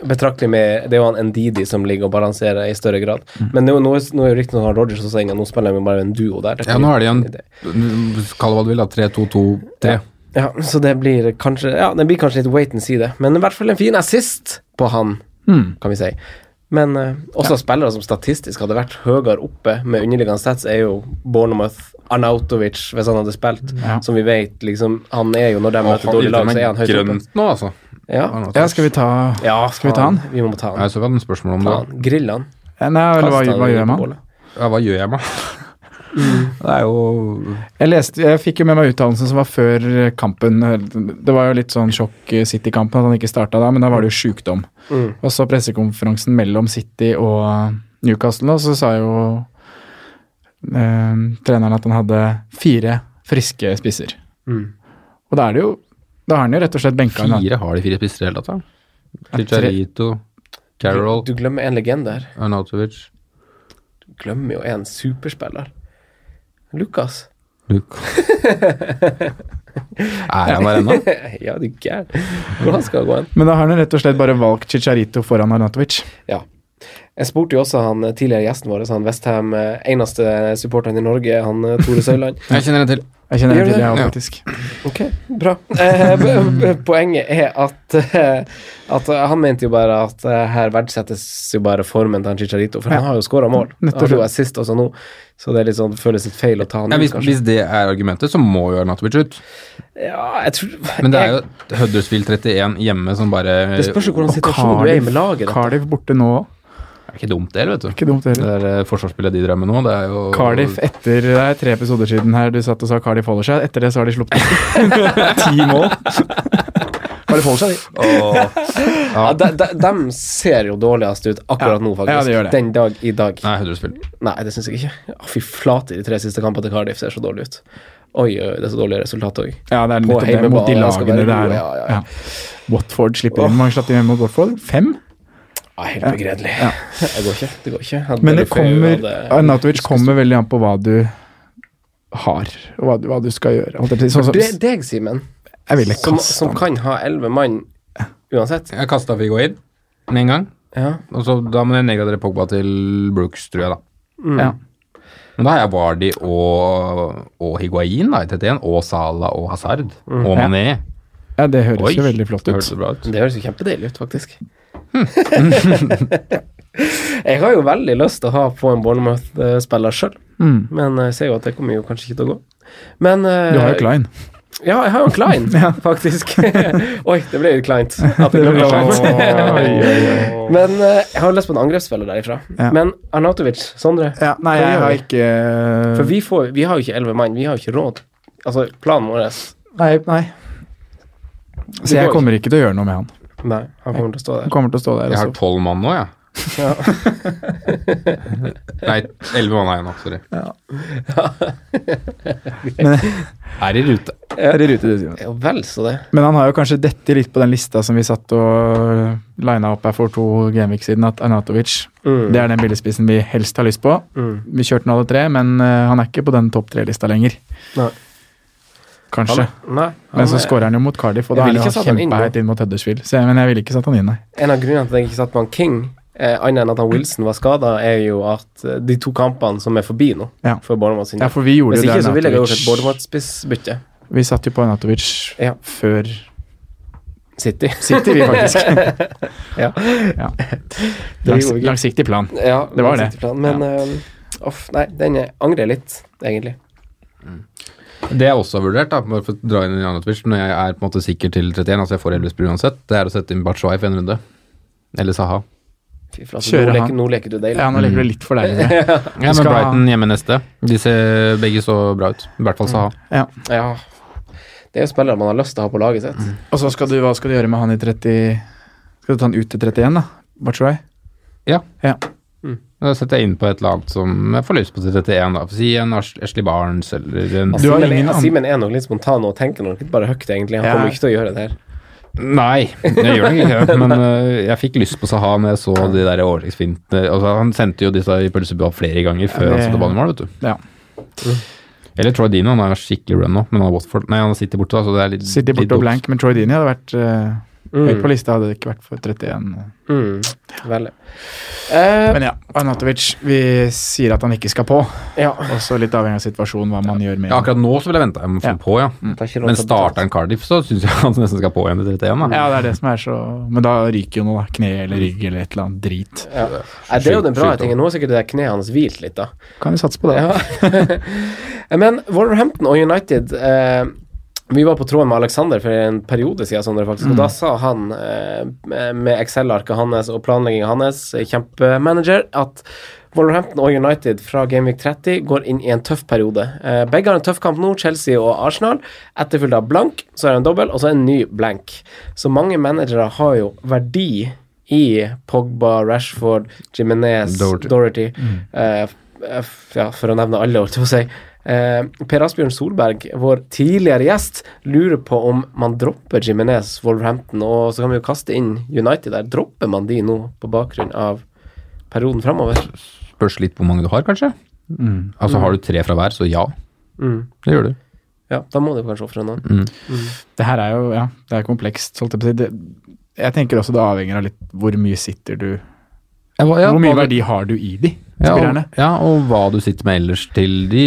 betraktelig mer Det er jo han Ndidi som ligger og balanserer i større grad.
Mm.
Men det er jo, nå, er- nå er jo riktignok han Rogers også inne, nå spiller de jo bare en duo der. Det
Ja,
kan-
nå er det igjen Kall det hva du vil, da. 3-2-2-3.
Ja, så det blir kanskje Ja, det blir kanskje litt wait and see, det. Men i hvert fall en fin assist på han,
Hmm.
kan vi si. Men eh, også spillere som statistisk hadde vært høyere oppe med underliggende stats, er jo Bournemouth, Arnautovic, hvis han hadde spilt.
Ja.
Som vi vet, liksom Han er jo, når de møter dårlige lag, så er han høyt oppe.
grønt nå, altså.
Ja.
Ja, skal vi ta
ja,
Skal vi ta han?
Vi må ta han.
Jeg så vi hadde en spørsmål om det.
Faen, grill han.
Ja, Nei, eller hva,
Kast han
hva
i
gjør man?
bålet.
Ja, hva gjør jeg, meg? Det er jo
Jeg, leste, jeg fikk jo med meg uttalelsen som var før eh, kampen. Det var jo litt sånn sjokk eh, City-kampen at han ikke starta da, men da var det jo sjukdom.
Mm.
Og så pressekonferansen mellom City og Newcastle, og så sa jo eh, treneren at han hadde fire friske spisser.
Mm.
Og da er det jo Da har han jo rett og slett benka en
Fire har de fire spisser i det hele tatt? da?
tre.
Chicharito, Carol,
Du, du glemmer en legende her.
Arnautovic
Du glemmer jo en superspiller. Lukas.
Luke. er han der ennå?
ja, du er gæren. Hvordan skal det gå hen?
Men da har han jo rett og slett bare valgt Chicharito foran Arnatovic.
Ja. Jeg spurte jo også han eh, tidligere gjesten vår, så han Westham, eh, eneste supporteren i Norge, han eh, Tore Søyland.
Jeg kjenner en til.
Jeg kjenner
Gjør
helt til
det?
det, ja,
Ja.
faktisk.
Ok, bra. Eh, b- b- Poenget er at, eh, at eh, han mente jo bare at eh, her verdsettes jo bare formen til han Chicharito, for han har jo skåra mål.
Nettopp.
Han har jo assist også nå, så det er litt sånn, føles litt feil å ta han
Ja,
ut,
hvis,
kanskje.
hvis det er argumentet, så må jo Arnautovic ut.
Ja, jeg tror
Men det er
jeg-
jo Huddersfield 31 hjemme som bare
Det spørs jo hvordan
Og
situasjonen du er i med
Cardiff,
laget. da.
Cardiff borte nå òg.
Det er ikke dumt, det, vet du.
Ikke dumt, det heller.
Det der eh, forsvarsspillet de drømmer nå, det er jo
Cardiff etter Det er tre episoder siden her du satt og sa Cardiff holder seg. Etter det så har de sluppet ti mål. Cardiff holder seg, de.
Åh.
Ja, de, de, de ser jo dårligst ut akkurat
Ja.
nå, faktisk.
Ja, det gjør det.
Den dag i dag.
Nei, Huddersfield.
Nei, det syns jeg ikke. Å, fy flate, de tre siste kampene til Cardiff ser så dårlig ut. Oi, oi, det er så dårlige resultat òg.
Ja, det er
På
nettopp det mot de
hjemmebane, jeg skal
lagene
være
det er.
god, ja, ja, ja.
Watford slipper inn. Hvor mange slapp de inn mot Watford? Fem?
Ja, helt begredelig. Det går ikke. Det går ikke. Hadde
Men det
Luffy
kommer
hadde-
Arnatovic kommer veldig an på hva du har, og hva, du- hva du skal gjøre. Holdt jeg på å si. Sånn som-
Det er deg, Simen,
jeg ville
som,
kaste
som
han.
kan ha elleve mann uansett.
Jeg kasta Figoin med en gang.
Ja.
Og så Da må jeg nedgradere Pogba til Brooks, tror jeg, da.
mm.
Ja.
Men da har jeg Vardi og, og Higuain da, i 31, og Sala og Hazard. Og
Ja.
Mané.
ja, det høres
Oi,
jo veldig flott
det hørtes
ut.
bra ut.
Det høres jo kjempedeilig ut, faktisk.
Hm.
jeg har jo veldig lyst til å ha på en Bournemouth-spiller sjøl,
Mm.
men eh, jeg ser jo at det kommer jo kanskje ikke til å gå. Men eh,
Du har jo Klein.
Ja, jeg har jo en Klein, faktisk. Oi, det ble litt kleint. At det ble
Det ble
kleint.
Oi,
Men eh, jeg har lyst på en angrepsfelle derifra.
Ja.
Men Arnautovic, Sondre
Ja, nei,
Hva
jeg
gjør
har
vi?
ikke
For vi, får, vi har jo ikke elleve mann, vi har jo ikke råd. Altså, planen vår
Nei, nei. Så
går
jeg
ikke.
kommer ikke til å gjøre noe med han.
Nei, han kommer til å stå
Han
der.
kommer til å stå der.
Jeg har
og så-
tolv mann nå, jeg.
Ja.
Nei, elleve mann har jeg nå. Sorry. Er i rute.
Er i rute, du, Simon.
Ja vel, så det.
Men han har jo kanskje dette litt på den lista som vi satt og lina opp her for to gameweek siden, at Arnatovic
Mm.
det er den billigspissen vi helst har lyst på.
Mm.
Vi kjørte den alle tre, men eh, han er ikke på den topp tre-lista lenger.
Nei.
Kanskje.
Nei, han
Men så
er-
skårer han jo mot Cardiff, og
Jeg
da er
ville
det
ikke satt han inn,
kjempeheit inn mot Huddersfield. Så jeg, men jeg ville ikke satt han inn, nei.
En av grunnene til at jeg ikke satte på han King, eh, annet enn at han Wilson var skada, er jo at eh, de to kampene som er forbi nå,
Ja.
for Bournemouth sin
Ja, for vi gjorde
Hvis
jo det
ikke, så ville jeg gjort et
Arnautovic
Bournemouth-spissbytte.
Vi satt jo på Arnatovic
Ja.
før
City.
City, vi faktisk.
Ja.
Ja.
Det gjorde vi.
langsiktig plan.
Ja,
Det var det.
langsiktig plan, Men eh, off, nei, den jeg angrer litt, egentlig.
Det jeg også har vurdert, da, bare for å dra inn i Arnautovic, når jeg er på en måte sikker til 31, altså jeg får elleve spillere uansett, det er å sette inn Batshuay for en runde. Eller Saha.
Fy flate, nå,
Kjører han.
leker, nå leker du deilig.
Ja, nå leker det litt for deilig. tror jeg.
Ja, men
skal ha-
Brighton hjemme neste. De ser begge så bra ut. I hvert fall Saha.
Ja.
Ja. Det er jo spillere man har lyst til å ha på laget sitt.
Og så skal du, hva skal du gjøre med han i 30 Skal du ta han ut til 31, da? Batshuay?
Ja.
Ja.
Da setter jeg inn på et eller annet som jeg får lyst på til 31, da. Si en Ars- Ashley Barnes eller en
Du
Altså,
har
Simen,
ingen
er-
an-
Simen er nok litt spontan og tenker nok litt bare høyt, egentlig. Han
Ja.
kommer ikke til å gjøre det her.
Nei, jeg gjør det ikke. Men øh, jeg fikk lyst på Saha når jeg så de der overleggsfintene. Altså, han sendte jo disse i pølsebua flere ganger før
Ja, det-
han satte ballen i mål, vet du.
Ja.
Eller Troy Dino, han har skikkelig run nå, men han har Watford Nei, han sitter borte, da, så det er litt
City
litt
borte
dumt.
og blank, men Troy Dini hadde vært eh, høyt
Mm.
på lista. Hadde det ikke vært for 31.
Mm. Veldig. Eh,
Men ja, Arnatovic. Vi sier at han ikke skal på.
ja.
Også litt avhengig av situasjonen, hva man gjør med
Ja, akkurat nå så vil jeg vente jeg må få
Ja. Mm.
på, ja.
Det er ikke lov
Men
til å
starter han Cardiff, så syns jeg han nesten skal på igjen til 31, da.
Ja, det er det som er så Men da ryker jo noe, da. Kne eller rygg eller et eller annet drit.
betale. ja. Nei, Det er jo den bra
Skyld-
tingen. Nå har sikkert det der kneet hans hvilt litt, da.
Kan vi satse på det?
Ja. Men Wolverhampton og United eh, Vi var på tråden med Alexander for en periode siden, Sondre, faktisk, og da sa han, eh, med Excel-arket hans og planlegginga hans, eh, kjempemanager, at Wolverhampton og United fra Gameweek 30 går inn i en tøff periode. Eh, begge har en tøff kamp nå, Chelsea og Arsenal. Etterfulgt av blank, så er det en dobbel, og så en ny blank. Så mange managere har jo verdi i Pogba, Rashford, Jimenez,
Doherty.
Doherty, eh, f- ja, for å nevne alle, holdt jeg på å si. Eh, per Asbjørn Solberg, vår tidligere gjest, lurer på om man dropper Jimenez, Wolverhampton, og så kan vi jo kaste inn United der. Dropper man de nå på bakgrunn av perioden framover?
Spørs litt hvor mange du har, kanskje.
Mm.
Altså har du tre fra hver, så ja.
Mm.
Det gjør du. Mm.
Ja, da må du kanskje ofre noen.
Det her er jo Ja, det er komplekst, holdt jeg på å si. Det, jeg tenker også det avhenger av litt hvor mye sitter du Hvor mye verdi har du i de
ja,
spillerne?
og, ja, og hva du sitter med ellers til de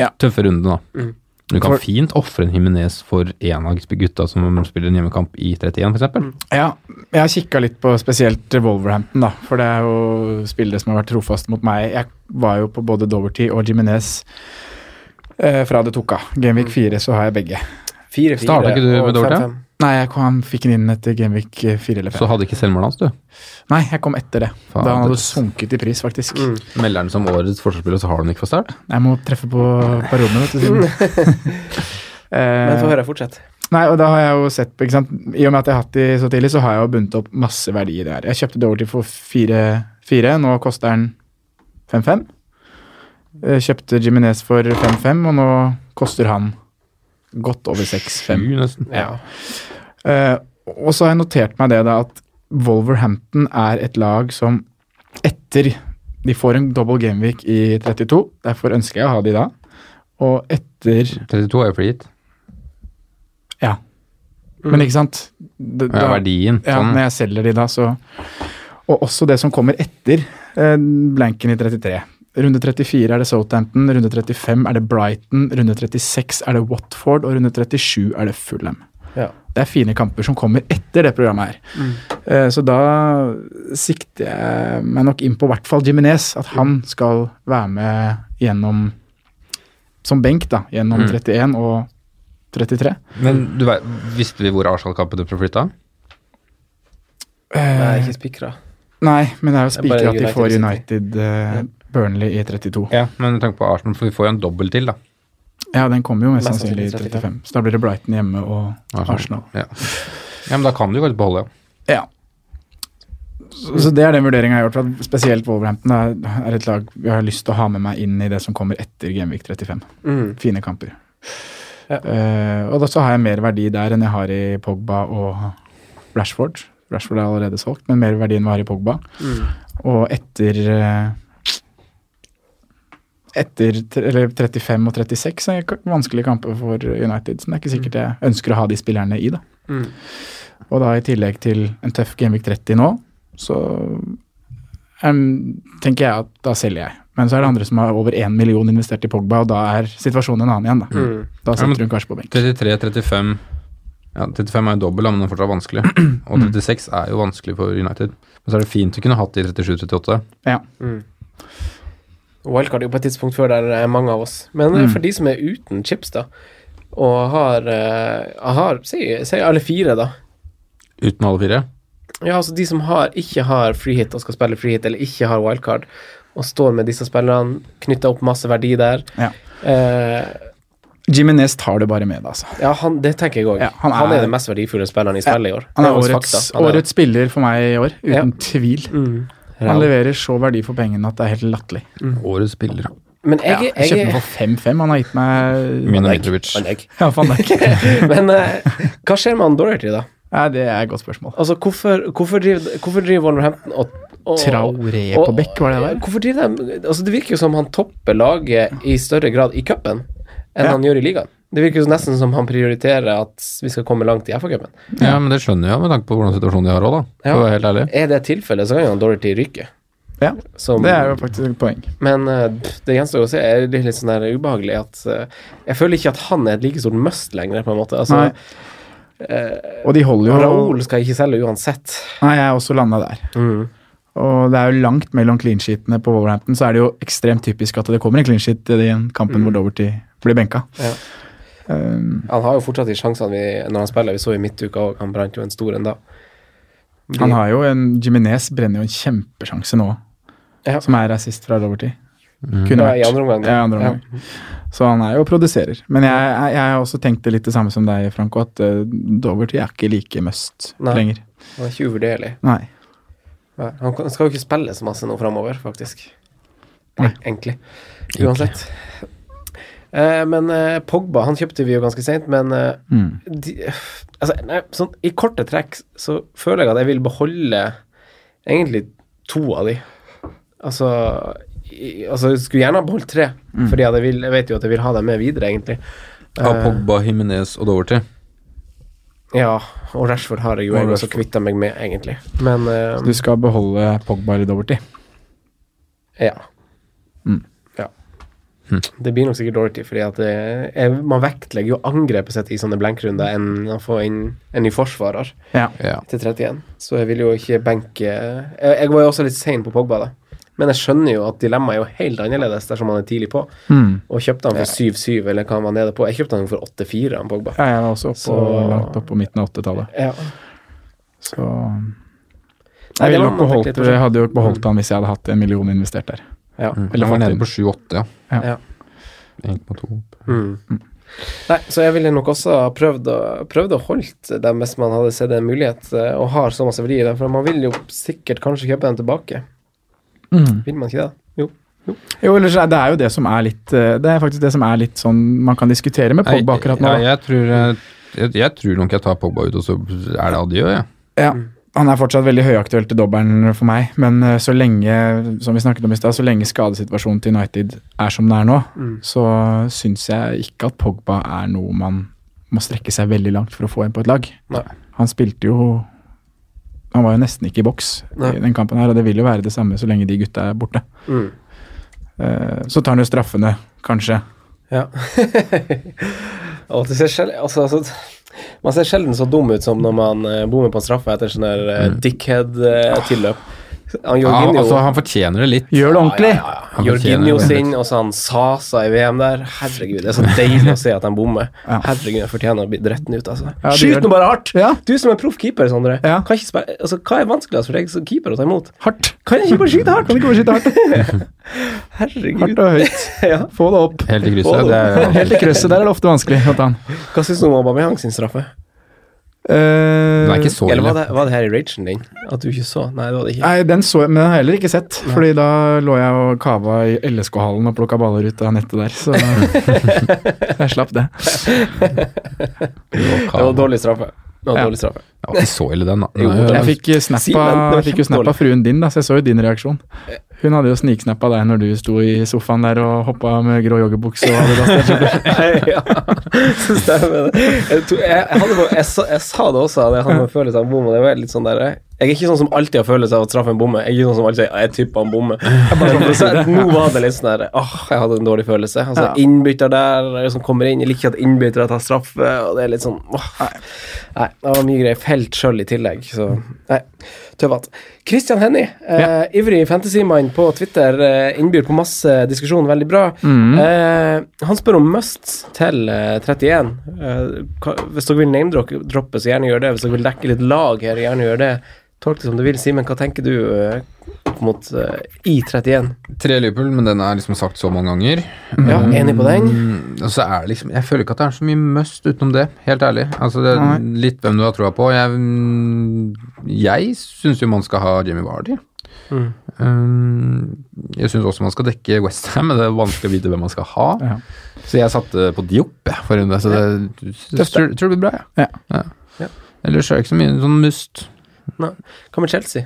Ja.
tøffe rundene, da.
Mm.
Du kan
For-
fint ofre en Himinez for en av gutta som spiller en hjemmekamp i 31, f.eks.
Ja, jeg har kikka litt på spesielt Wolverhampton, da. For det er jo spillere som har vært trofaste mot meg. Jeg var jo på både Doverty og Jimenez eh, fra det tok av. Gameweek
Mm.
4 så har jeg begge.
Fire-fire
Startet ikke du
og
med Dorthe?
fem-fem.
Nei, jeg kom, han fikk den inn etter Gameweek 4 eller 5.
Så hadde ikke selvmålet hans, du.
Nei, jeg kom etter det.
Fader.
Da han hadde sunket i pris, faktisk.
Mm.
Melder han som årets forsvarsspiller, så har han ikke fra start.
Jeg må treffe på parolen, vet du. Siden.
Men få
eh,
høre, fortsett.
nei, og da har jeg jo sett på, ikke sant. I og med at jeg har hatt de så tidlig, så har jeg jo bundet opp masse verdier der. Jeg kjøpte Doverty for 4-4, nå koster den 5-5. Eh, Kjøpte Jiminez for 5-5, og nå koster han godt over 6-5.
Sju, nesten.
Ja. Eh, og så har jeg notert meg det da at Wolverhampton er et lag som etter De får en double gameweek i 32, derfor ønsker jeg å ha de da. Og etter
32 er jo frigitt.
Ja. Men ikke sant? Det,
Ja, verdien.
ja,
Sånn.
Når jeg selger de da, så Og også det som kommer etter eh, blanken i 33. Runde 34 er det Southampton, runde 35 er det Brighton, runde 36 er det Watford, og runde 37 er det Fulham.
Ja.
Det er fine kamper som kommer etter det programmet her. Eh, Så da sikter jeg meg nok inn på i hvert fall Jiminez, at han skal være med gjennom som benk, da, gjennom
Mm.
31 og 33.
Men du vet, visste vi hvor Arsenal-kampen ble flytta?
Eh,
Nei, ikke spikra.
Nei, men det er jo
Det er
spikra
bare
at de får
United
United eh, Burnley i 32.
Ja, men med tanke på Arsenal, for vi får jo en dobbel til, da.
Ja, den kommer jo mest
Mest
sannsynlig i
sannsynlig
35. Så da blir det Brighton hjemme og
Arsenal.
Arsenal.
Ja, ja men da kan du jo faktisk beholde, ja.
Ja. Så, så det er den vurderinga jeg har gjort. for at Spesielt Wolverhampton er, er et lag jeg har lyst til å ha med meg inn i det som kommer etter Genvik 35.
Mm.
Fine kamper.
Ja.
Eh, og da så har jeg mer verdi der enn jeg har i Pogba og Rashford. Rashford er allerede solgt, men mer verdi enn vi har i Pogba.
Mm.
Og etter eh, Etter tre- eller 35 og 36 er k- vanskelige kamper for United. Så det er ikke sikkert jeg ønsker å ha de spillerne i, da.
Mm.
Og da i tillegg til en tøff Gameweek 30 nå, så em, tenker jeg at da selger jeg. Men så er det andre som har over 1 million investert i Pogba, og da er situasjonen en annen igjen, da.
Mm.
Da
Ja, men-
sitter hun kanskje på benk.
33, 35 Ja, 35 er jo dobbel, da, men den er fortsatt vanskelig. Og
Mm.
36 er jo vanskelig for United. Men så er det fint å kunne hatt de 37-38.
Ja.
Mm. Wildcard er jo på et tidspunkt før der er mange av oss. Men eh,
Mm.
for de som er uten chips, da, og har, eh, har si, si alle fire, da.
Uten alle fire.
Ja, altså de som har, ikke har free hit og skal spille free hit, eller ikke har wildcard, og står med disse spillerne, knytter opp masse verdi der.
Ja.
Eh,
Jiminez tar det bare med, altså.
ja, han, det tenker jeg òg.
Ja, han
han,
er-
er den mest verdifulle spilleren i spillet i år.
Han
Det
er
hans
årets,
fakta. Han er-
årets spiller for meg i år,
Ja.
uten tvil.
Mm.
Han
Ja.
leverer så verdi for pengene at det er helt latterlig.
Mm.
Årets spiller.
Men jeg,
Jeg
jeg,
kjøpte den for 5-5. Han har gitt meg
Mina
Nei.
Mitrovic.
jeg, jeg
Ja, faen, det er ikke
Men eh, hva skjer med han Dorothy, da?
Nei, det er et godt spørsmål.
Altså, hvorfor, hvorfor, driver, hvorfor driver Wolverhampton og, og
Traoré
og-
på bekk, var det det
Ja,
der?
Hvorfor driver de Altså, det virker jo som han topper laget i større grad i cupen enn
Ja.
han gjør i ligaen. Det virker jo nesten som han prioriterer at vi skal komme langt i FA-cupen.
Ja, men det skjønner jeg med tanke på hvordan situasjonen de har òg, da.
Ja.
For å være helt ærlig.
Er det tilfellet, så kan jo han Dorothy ryke.
Ja,
Som,
det er jo faktisk et poeng.
Men eh, pff, det gjenstår jo å se. Er det litt sånn der ubehagelig at eh, Jeg føler ikke at han er et like stort must lenger, på en måte. Altså,
Nei. Og de holder jo
Raoul skal jeg ikke selge uansett.
Nei, jeg er også landa der.
Mm.
Og det er jo langt mellom clean sheetene på Wolverhampton, så er det jo ekstremt typisk at det kommer en clean sheet i den kampen hvor Doverty blir benka.
Mm. Ja.
Um,
Han har jo fortsatt de sjansene vi, når han spiller. Vi så i midtuka òg, han brant jo en stor en da.
han har jo en Jiminez brenner jo en kjempesjanse nå,
Ja.
som er rasist fra Doverty. Mm.
Ja, i andre omgang, da.
Ja, i andre
Ja.
omgang. Så han er jo produserer. Men jeg, jeg, jeg har også tenkt det litt det samme som deg, Franco, at uh, Doverty er ikke like must
Nei.
lenger.
Han er ikke uvurderlig.
Nei.
Ja, Han kan- skal jo ikke spille så masse nå framover, faktisk.
Nei.
Egentlig. Uansett. Eh, men eh, Pogba han kjøpte vi jo ganske seint, men eh,
Mm.
de, altså, nei, sånn, I korte trekk så føler jeg at jeg vil beholde egentlig to av de. Altså, i, altså jeg Skulle gjerne ha beholdt tre,
Mm.
Fordi at jeg, vil, jeg vet jo at jeg vil ha dem med videre, egentlig.
Av Pogba, Himinez og Doverty.
Ja, og Rashford har jeg jo
Og
jeg også
Rashford.
kvitta meg med, egentlig. Men eh,
Du skal beholde Pogba eller Doverty.
Ja.
Mm.
ja. Det blir nok sikkert Dorothy, fordi at det er, man vektlegger jo angrepet sitt i sånne blenkrunder enn å få inn en ny forsvarer
Ja.
Ja.
til 31. Så jeg vil jo ikke benke Jeg, jeg var jo også litt sein på Pogba, da. Men jeg skjønner jo at dilemmaet er jo helt annerledes dersom man er tidlig på.
Mm.
Og kjøpte han for 7-7, eller hva han var nede på. Jeg kjøpte han for 8-4, han Pogba.
Ja, jeg var også oppe,
Så-
langt oppe på midten av 80-tallet.
Ja.
Så
Nei,
jeg,
det
ville
var
nok
noe
beholdt,
litt forskjell.
jeg eh, hadde Mm. jo ikke beholdt han hvis jeg hadde hatt en million investert der.
Ja.
Eller
Eller var
fått
nede
inn.
på 7-8, ja.
ja.
1,2.
Mm. Nei, så jeg ville nok også ha prøvd å, prøvd å holdt dem hvis man hadde sett en mulighet, eh, og har så masse verdier. For man vil jo sikkert kanskje kjøpe dem tilbake.
Mm.
Vil man ikke det? Jo.
Jo, ellers er det er jo det som er litt eh, Det er faktisk det som er litt sånn man kan diskutere med Pogba akkurat nå.
Nei,
da.
Ja, jeg, tror, eh, jeg, jeg, jeg tror nok jeg tar Pogba ut, og så er det adjø, jeg.
Ja. Han er fortsatt veldig høyaktuell til dobbelen for meg, men eh, så lenge som vi snakket om i sted, så lenge skadesituasjonen til United er som den er nå,
Mm.
så syns jeg ikke at Pogba er noe man må strekke seg veldig langt for å få inn på et lag.
Nei.
Han spilte jo Han var jo nesten ikke i boks
Nei.
i den kampen her, og det vil jo være det samme så lenge de gutta er borte.
Mm.
Eh, Så tar han jo straffene, kanskje.
Ja. og det ser sjel- altså, altså, man ser sjelden så dum ut som når man eh, bommer på en straffe etter sånn der eh, dickhead-tilløp. Han
Ja,
Jorginho
altså, han fortjener det litt.
Gjør det ordentlig!
Ja, ja, ja.
Han
Jorginho
fortjener det.
sin, og så han Sasa i VM der. Herregud, det er så deilig å se at de bommer.
Ja.
Herregud, jeg fortjener å bli drept ut, altså.
Ja, det gjør
Skyt
det.
nå bare hardt!
Ja.
Du som er proff keeper, Sondre.
Ja.
Kan ikke spille, altså, hva er vanskeligst for deg som keeper å ta imot?
Hardt!
Kan jeg ikke bare skyte hardt?
Kan du ikke bare skyte hardt?
Herregud.
Hardt og høyt.
Ja.
Få det opp.
Helt i krysset. Det er,
Helt i krysset. Der er det ofte vanskelig å ta han.
Hva syns du om Aubameyang sin straffe?
Eh,
den er ikke så
Eller var
ille.
det, var det her i ragen din? At du ikke så? Nei, det var det ikke.
Nei, den så jeg, men den har jeg heller ikke sett. Fordi da lå jeg og kava i LSK-hallen og plukka baller ut av nettet der, så jeg slapp det.
Det var dårlig straffe. Det var
Ja.
dårlig straffe.
Det var ikke så ille, den, da.
Jo,
Nei,
det
Jeg
er
fikk snap
Simen,
av,
det var Eh.
jeg fikk jo snap av fruen din, da, så jeg så jo din reaksjon. Hun hadde jo sniksnappa deg når du sto i sofaen der og hoppa med grå joggebukse og Adidas.
ja, så stemmer det. Jeg, tror, jeg, jeg, hadde, bare- jeg, sa- jeg sa det også, at jeg hadde en følelse av bom. og Det var litt sånn der, jeg er ikke sånn som alltid har følelse av å traffe en bomme. Jeg er ikke sånn som alltid sier «Ja, 'jeg tippa en bomme'. Men så- Nå var det litt sånn der Åh, jeg hadde en dårlig følelse. Altså, Innbytter der som kommer inn. Jeg liker ikke at innbyttere tar straffe, og det er litt sånn åh. Nei, det var mye greier. Felt sjøl i tillegg, så nei. Tøvete. Christian Hennie, eh, ivrig fantasymann på Twitter, eh, innbyr på masse diskusjon, veldig bra. Eh, han spør om Must til eh, 31. Eh, hva, hvis dere vil name-droppe, så gjerne gjør det. Hvis dere vil dekke litt lag her, gjerne gjør det. Tolk det som du vil. Simen, hva tenker du eh, opp mot eh, I31?
Tre Liverpool, men den er liksom sagt så mange ganger.
Ja, enig på den?
Mm, og så er det liksom Jeg føler ikke at det er så mye must utenom det, helt ærlig. Altså det er Litt hvem du har troa på. Jeg, mm, jeg syns jo man skal ha Jimmy Vardy. Mm. Um, jeg syns også man skal dekke Westham, men det er vanskelig å vite hvem man skal ha.
Ja.
Så jeg satte på Diop jeg, for en dag, så det, jeg tror, tror det blir bra. jeg.
Ja.
Ja.
Ja.
Ellers er det ikke så mye sånn must.
Hva med Chelsea?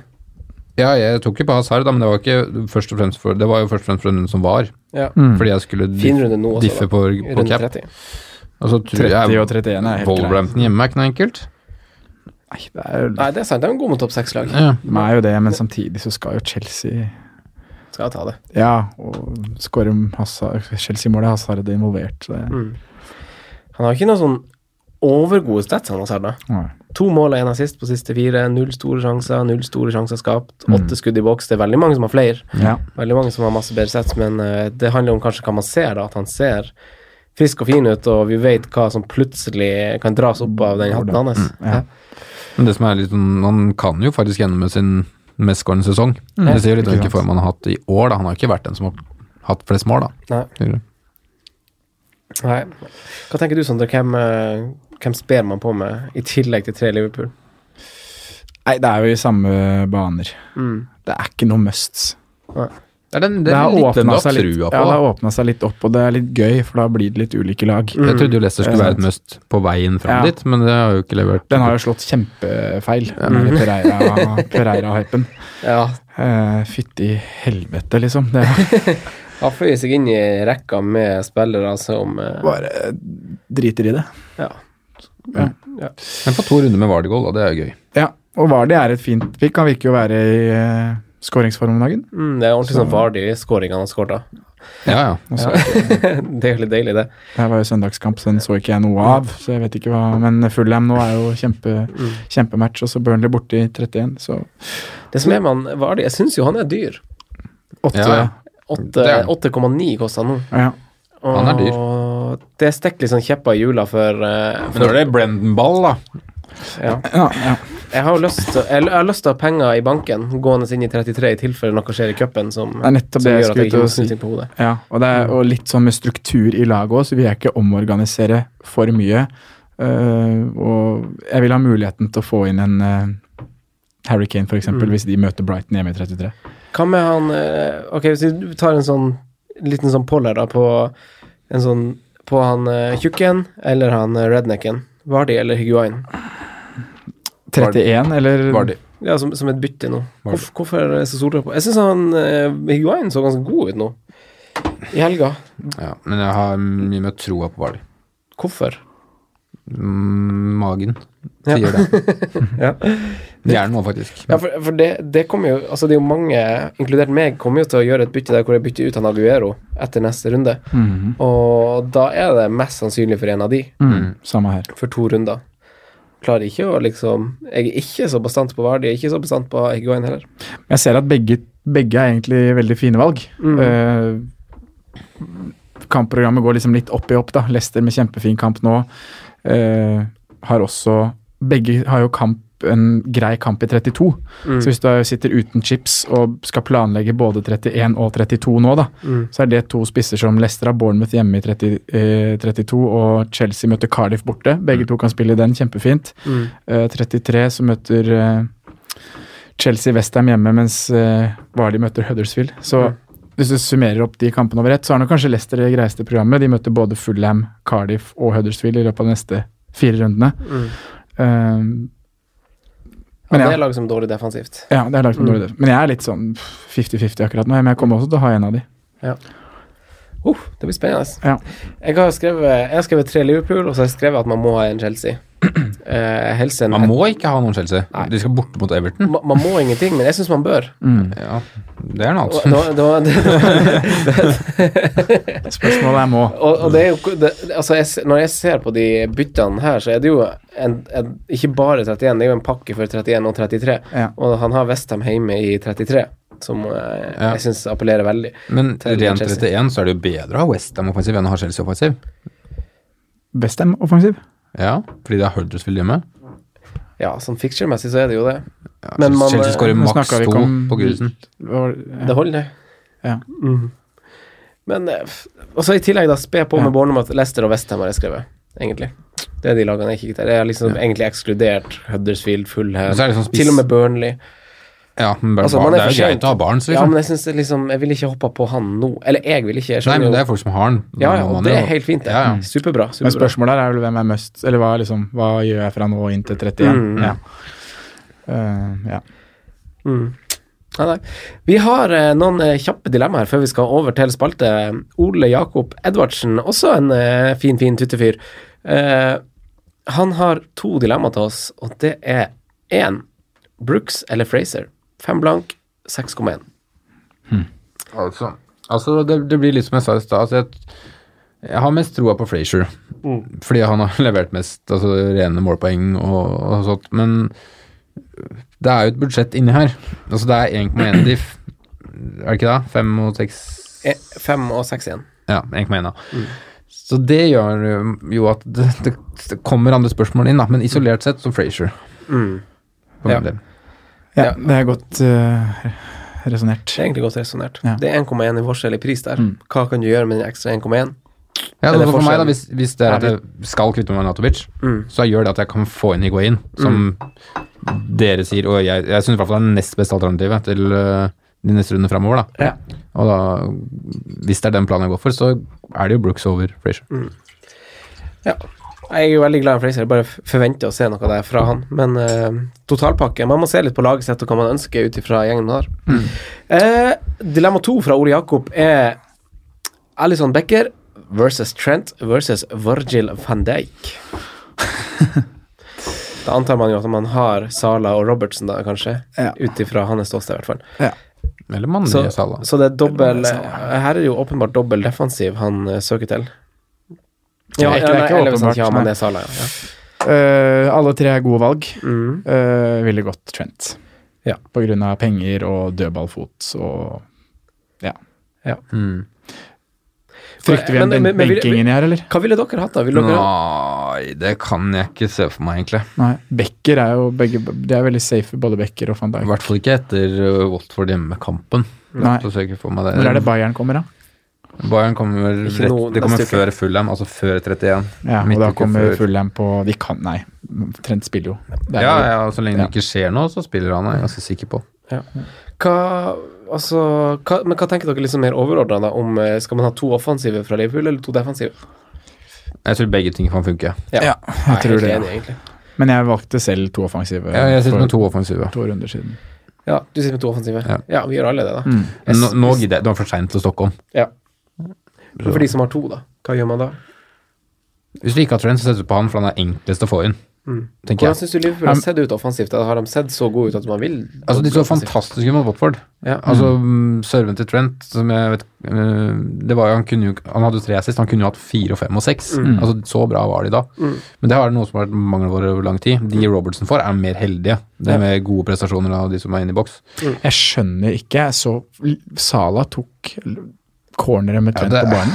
Ja, jeg tok ikke på Hazard, da, men det var, ikke først og fremst for, det var jo først og fremst for den som var.
Ja.
Mm.
Fordi jeg skulle
Fin
diff,
runde nå også,
diffe
da.
på, på
Runde
cap.
30.
Og så tror
30 og
jeg
31 er helt greit.
Wolverhampton hjemme er ikke noe enkelt.
Nei, det er jo,
Nei, det er sant. De er gode mot topp seks-lag.
Ja.
de er jo det, men samtidig så skal jo Chelsea
Skal jeg ta det.
Ja, og skårer Chelsea-målet, Hazard er involvert. Så det,
Han har ikke noen sånn overgode stats, han har sett, da.
Nei.
To mål og én assist på siste fire. Null store sjanser, null store sjanser skapt.
Mm.
Åtte skudd i boks. Det er veldig mange som har flere.
ja.
Veldig mange som har masse bedre sets, men eh, det handler om kanskje hva man ser, da. At han ser frisk og fin ut, og vi vet hva som plutselig kan dras opp av den hatten hans.
Mm,
ja.
Men det som er litt sånn, han kan jo faktisk gjennom med sin mestskårende sesong. Det sier jo litt om
Mm.
hvilken
Ikke sant.
form han har hatt i år, da. Han har ikke vært den som har hatt flest mål, da.
Nei. Nei. Hva tenker du, Sondre? Hvem, eh, hvem sper man på med, i tillegg til tre Liverpool?
Nei, det er jo i samme baner.
Mm.
Det er ikke noe musts.
Det er den,
Det
det er
har
litt den du
åpna
har
seg, litt-
trua
ja,
på.
det
da.
har åpnet seg litt opp, og det er litt gøy, for da blir det litt ulike lag.
Jeg trodde jo Leicester skulle
Mm.
være et must på veien fram
Ja.
dit, men det har jo ikke levert.
Den har jo slått kjempefeil, den der Pereira- Pereira-hypen.
Ja,
Eh, Fytti helvete, liksom. Det er
han føyer seg inn i rekka med spillere som eh,
bare driter i det.
ja.
Men på to runder med Vardegål, da. Det er jo gøy.
Ja, og Vardy er et fint pick. Han virker jo å være i eh, skåringsform om dagen.
mm, Det er ordentlig sånn Vardy-skåring han har skåret, da.
Ja, ja.
Og så-
det er jo litt deilig, det.
Det her var jo søndagskamp, så den så ikke jeg noe av. Så jeg vet ikke hva, Men Fulham nå er jo kjempe, kjempematch, og så Burnley borte i 31, så
Det som er med han Vardy, jeg syns jo han er dyr.
åtte.
Ja, ja. Det er han.
8,9 koster han nå.
Ja.
Og
Han er dyr.
Det stikker litt sånn kjepper i hjula for, eh,
Men da
for
er det Brendan Ball, da.
ja.
Ja, ja.
Jeg har jo lyst til jeg, jeg har lyst til å ha penger i banken gående inn i 33 i tilfelle noe skjer i cupen som,
Det er nettopp
som
det jeg
gjør at jeg
skulle
ikke
til å
må snu
si.
ting på hodet.
ja. Og, det er, og litt sånn med struktur i laget òg, så vil jeg ikke omorganisere for mye. Eh, og jeg vil ha muligheten til å få inn en eh, Harry Kane, f.eks., eksempel hvis de møter Brighton hjemme i 33.
Hva med han eh, Ok, hvis vi tar en sånn liten sånn poller da på en sånn på han eh, tjukken eller han eh, rednecken. Vardi eller Higuain.
31, eller
Vardy.
Ja, som, som et bytte nå.
Vardy.
Hvorfor, hvorfor er det så soltrøkk på? Jeg syns han eh, Higuain så ganske god ut nå. I helga.
Ja, men jeg har mye mer troa på Vardy.
Hvorfor?
Mm, Magen sier det.
Ja.
Hjernen òg, faktisk.
Ja, for, for det, det kommer jo Altså, det er jo mange, inkludert meg, kommer jo til å gjøre et bytte der hvor jeg bytter ut han Aguero etter neste runde.
Mhm.
Og da er det mest sannsynlig for en av de,
Mm, samme her.
for to runder. Klarer ikke å liksom Jeg er ikke så bastant på Vardi, jeg er ikke så bastant på Higuain heller.
Jeg ser at begge, begge er egentlig veldig fine valg. Eh, kampprogrammet går liksom litt opp i opp. da. Leicester med kjempefin kamp nå. Eh, har også Begge har jo kamp, en grei kamp i 32.
Mm.
Så hvis du er- sitter uten chips og skal planlegge både 31 og 32 nå, da, så er det to spisser som Leicester har Bournemouth hjemme i 30, eh, 32 og Chelsea møter Cardiff borte. Begge to kan spille den kjempefint. Eh, 33 så møter eh, Chelsea Westham hjemme, mens eh, Vardy møter Huddersfield. Så hvis du summerer opp de kampene over ett, så har nok kanskje Leicester det greieste programmet. De møter både Fulham, Cardiff og Huddersfield i løpet av de neste fire rundene. Eh,
Men
Men
Mm. ja.
ja.
Det er lag Mm. som er dårlig defensivt.
ja, det er lagt med dårlig def- Men jeg er litt sånn pff, 50-50 akkurat nå. Men jeg kommer også til å ha en av de.
Uh, det blir spennende.
Ja.
Jeg har skrevet, jeg har skrevet tre Liverpool, og så har jeg skrevet at man må ha en Chelsea. Eh, helst en
Man må ikke ha noen Chelsea. De skal borte mot Everton.
Ma- man må ingenting, men jeg syns man bør.
Ja, det er
Mm.
noe
Og- Det
annet.
var, det var, det var
Spørsmålet er må.
Og, og det er jo det, altså jeg, se- Når jeg ser på de byttene her, så er det jo en, en, ikke bare 31, det er jo en pakke for 31 og 33.
Ja.
Og han har Westham hjemme i 33, som eh,
Ja.
jeg syns appellerer veldig.
Men
Til
rent
Chelsea.
31 så er det jo bedre å ha Westham offensiv enn å ha Chelsea offensiv.
Bestem offensiv.
Ja, fordi det er Huddersfield hjemme.
Ja, sånn fiction-messig så er det jo det.
Ja,
Men man-
Chelsea skårer
Nå
maks
snakker vi
to
ikke om-
på Grisen.
Hva var det?
Det holder, det.
Ja.
Mm. Men eh, f- Og så i tillegg, da, spe på med Bournemouth, Leicester og Westham har jeg skrevet, egentlig. Det er de lagene jeg ikke der. Jeg har liksom egentlig ekskludert Huddersfield,
Men så er
Fulham,
det sånn spiss-
til og med Burnley.
Ja, men bare
Altså,
barn.
man er
det er
for
jo
sent.
greit å ha barn, så
Ja,
liksom.
men jeg synes det liksom Jeg ville ikke hoppa på han nå. Eller jeg ville ikke. Jeg
Nei,
skjønner
men det
jo-
er folk som har den.
ja, ja,
Man
og
jo-
det er helt fint, det. Mm.
Ja, ja.
Superbra.
Men
superbra.
spørsmålet her er vel hvem er must, eller hva, er liksom, hva gjør jeg fra nå inn til 31?
Mm.
Ja. Eh, ja.
Mm. Nei, nei. Vi har eh, noen eh, kjappe dilemmaer før vi skal over til spalte. Ole Jakob Edvardsen, også en eh, fin, fin tuttefyr. Eh, han har to dilemmaer til oss, og det er én Brooks eller Fraser. Fem blank, 6,1.
Altså, altså det, det blir litt som jeg sa i stad. Altså jeg, jeg har mest troa på Frazier.
Mm.
Fordi han har levert mest altså, rene målpoeng og, og sånt. Men det er jo et budsjett inni her. Altså det er 1,1 diff. Er det ikke det? 5 og 6
Eh, Fem og seks igjen.
Ja, 1,1 da.
Mm.
Så det gjør jo at det, det, det kommer andre spørsmål inn, da. Men isolert sett så Frazier.
Mm.
for
Ja.
min del.
ja,
Ja.
det er godt uh, resonnert.
Det er egentlig godt resonnert.
Ja.
Det er 1,1 i forskjell i pris der.
Mm.
Hva kan du gjøre med den ekstra 1,1?
Ja,
Eller
altså for meg da,
forskjellen.
hvis, hvis det er at jeg skal kvitte meg med Natovic,
Mm.
så gjør det at jeg kan få inn Higuain, som
Mm.
dere sier, og jeg, jeg syns i hvert fall det er det nest beste alternativet til øh, de neste rundene framover. Da.
Ja.
Og da, hvis det er den planen jeg går for, så er det jo Brooks over Frazier.
Mm. Ja. Jeg er jo veldig glad i Fraser. Jeg bare f- forventer å se noe der fra han. Men eh, totalpakke Man må se litt på laget sitt og hva man ønsker ut ifra gjengen man har. Eh, dilemma to fra Ole Jakob er Alison Becker versus Trent versus Virgil van Dijk. Da antar man jo at man har Sala og Robertsen, da, kanskje.
Ja.
Ut ifra hans ståsted, i hvert fall.
Eller Mané
Så,
Salah.
så det er dobbel eh, Her er det jo åpenbart dobbel defensiv han eh, søker til.
Ja, ikke- det er
nei,
ikke
eller hvis han
åpenbart,
sier ja,
nei.
Mané Salah, ja. ja.
Eh, alle tre er gode valg.
Mm.
Uh, ville gått Trent.
Ja.
På grunn av penger og dødballfot og
Mm.
Frykter vi en
Men-
ben
men- men vil-
benking inni her, eller?
Hva ville dere hatt, da? Ville dere hatt?
Nei, det kan jeg ikke se for meg, egentlig.
Nei. Becker er jo begge Det er veldig safe, både Becker og van
I
Dijk.
hvert fall ikke etter øh, Watford hjemmekampen.
Nei.
Så ser jeg ikke for meg det.
Når er det Bayern kommer, da?
Bayern kommer,
Ikke
rett,
noe
det kommer
neste uke.
før Fulham, altså før 31.
Ja, og
Midtuke
da kommer
før.
Fulham på De kan Nei, Trent spiller jo. Det er
Ja,
jo-
ja, og så lenge
Ja.
det ikke skjer noe, så spiller han, jeg er ganske sikker på.
Hva, altså, hva, men hva tenker dere liksom mer overordna, da? Om, eh, skal man ha to offensive fra Liverpool, eller to defensive?
Jeg tror begge ting kan funke.
Ja, jeg tror
helt
det.
Enig, egentlig.
Men jeg valgte selv to offensive
Jeg, jeg sitter
for
med to offensive.
to runder siden.
Ja, du sitter med to offensive. Ja,
Ja.
vi gjør alle det, da.
Mm.
Nå, nå gidder jeg, det var for seint til Stockholm.
Ja. Men For de som har to, da. Hva gjør man da?
Hvis du ikke har Trent, så setter du på han, for han er enklest å få inn.
Mm.
tenker
Hvordan
jeg.
syns du Liverpool har
Um,
sett ut offensivt? Da? Har de sett så gode ut at man vil
Altså, De så
offensivt?
fantastiske ut mot Watford.
Ja.
Altså, mm, Serven til Trent som jeg vet, øh, det var jo, han, kunne jo, han hadde jo tre assist, han kunne jo hatt fire og fem og seks.
Mm.
Altså, Så bra var de da. Men det har noe som har vært mangelen vår over lang tid. De Robertson får, er mer heldige. Det
Ja.
er med gode prestasjoner av de som er inne i boks.
Jeg skjønner ikke. Jeg så Sala tok corneret med Trent
det-
på banen.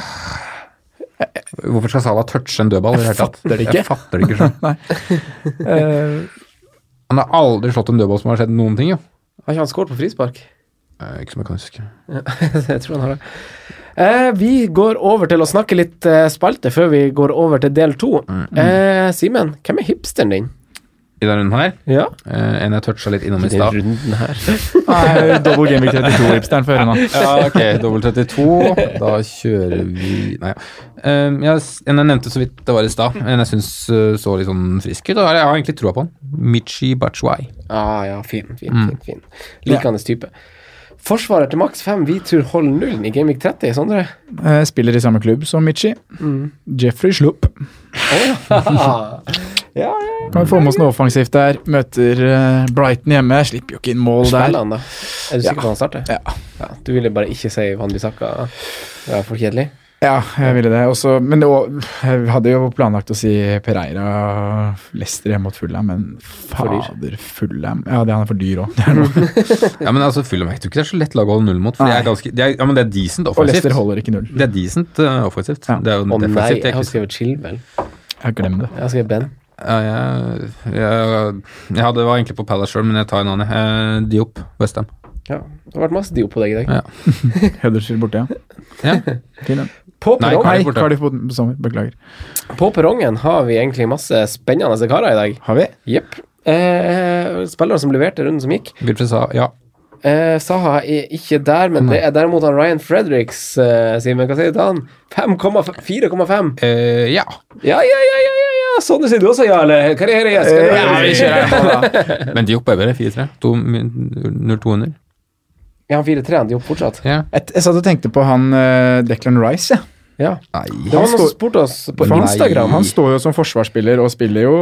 Hvorfor skal Salah touche en dødball? i det hele tatt?
fatter det ikke.
Jeg fatter det ikke selv.
Eh,
Han har aldri slått en dødball som har skjedd noen ting, jo.
Har ikke han skåret på frispark?
Eh, Ikke som jeg kan huske.
jeg tror han har det. Eh, vi går over til å snakke litt eh, spalte før vi går over til del to.
Mm.
Eh, Simen, hvem er hipsteren din?
I denne runden her,
Ja.
eh, en jeg toucha litt innom i
Den
stad.
runden her.
Nei, Double Game Week 32-hipsteren før nå.
Ja, ok, dobbel 32. Da kjører vi Nei. Um, jeg, en jeg nevnte så vidt det var i stad, en jeg syns så litt sånn frisk ut. Og jeg har egentlig troa på han. Michi Bachwai.
Ah, ja, fin, fin,
Mm.
fin, fin. Likende type. Forsvarer til maks 5, vi tror holder nullen i Gameweek 30, Sondre.
Eh, Spiller i samme klubb som Michi. Jeffrey Slupp.
Ah. ja, ja.
Kan vi få med oss noe offensivt der. Møter eh, Brighton hjemme. Slipper jo ikke inn mål
Spiller
der.
han, da? Er du sikker på at han starter?
Ja.
ja. Du ville bare ikke si Van Bissaka ja, for kjedelig?
Ja, jeg ville det. Også, men det var, jeg hadde jo planlagt å si Pereira Lester hjemme mot Fulham, men fader Fulham Ja, det han er for dyr òg.
Ja, men altså, Fulham jeg tror ikke det er så lett lag å holde null mot. For det
Nei.
er ganske de er, Ja, men det er decent
Og Lester
offensivt.
holder ikke null.
Det er decent eh, offensivt.
Ja.
Det er
Å
jo
nei,
defensivt. det
jeg
er
har
ikke-
skrevet Chilwell.
Jeg glem det.
Jeg har skrevet Ben.
Ja, jeg, jeg, jeg hadde, var egentlig på Palace sjøl, men jeg tar en annen. Eh, Diop, Westham.
Ja, det har vært masse dio på deg i dag.
Ja.
Huddersfield borte, ja.
Ja.
Fin den.
På,
Nei,
perrong,
Nei,
Cardiff borte.
Cardiff på på sommer. Beklager.
på perrongen har vi egentlig masse spennende karer i dag.
Har vi?
Jepp. Eh, spillere som leverte runden som gikk.
Wilfred sa ja.
Eh, Saha er ikke der, men det er derimot han Ryan Fredericks, eh, Simen. Hva sier du til han? 5,5 4,5?
Eh, ja.
Ja, ja, ja, ja, ja, ja. Sånne sier du også, Jarle. Hva er det jeg skal
Eh, ja, vi kjører
Men de oppe er bare 4-3. To- 0-200.
Ja, han 4-3, han de opp fortsatt.
Ja.
Jeg, jeg satt og tenkte på han eh, Declan Rice, jeg.
Ja. Det
Nei.
var
Han
noen som
står-
spurte oss på
For han-
Instagram.
Han står jo som forsvarsspiller og spiller jo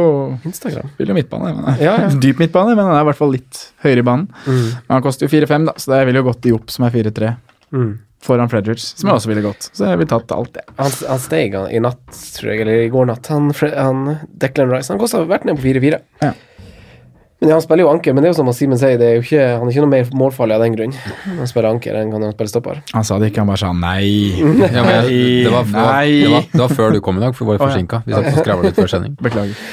Instagram.
spiller jo midtbane. Men,
Ja, ja.
Dyp midtbane, men han er i hvert fall litt høyere i banen. Men han koster jo 4-5, da, så det ville jo gått de opp som er 4-3
Mm.
foran Fredericks, som jeg også ville gått. Så jeg ville tatt alt, jeg.
Han, han steg han, i natt, tror jeg, eller i går natt. Han, Fre- han Declan Rice. Han kosta vært ned på 4-4.
Ja.
Men ja, Han spiller jo anker, men det er jo som Simen sier, det er jo ikke, han er ikke noe mer målfarlig av den grunn. Han spiller anker enn han spiller stopper.
Han sa det ikke, han bare sa nei.
Ja, men jeg- det, var, det, var,
Nei.
det, var, det var før du kom i dag, for du var
Å, ja.
forsinka. Vi satt og skravla litt før sending.
Beklager.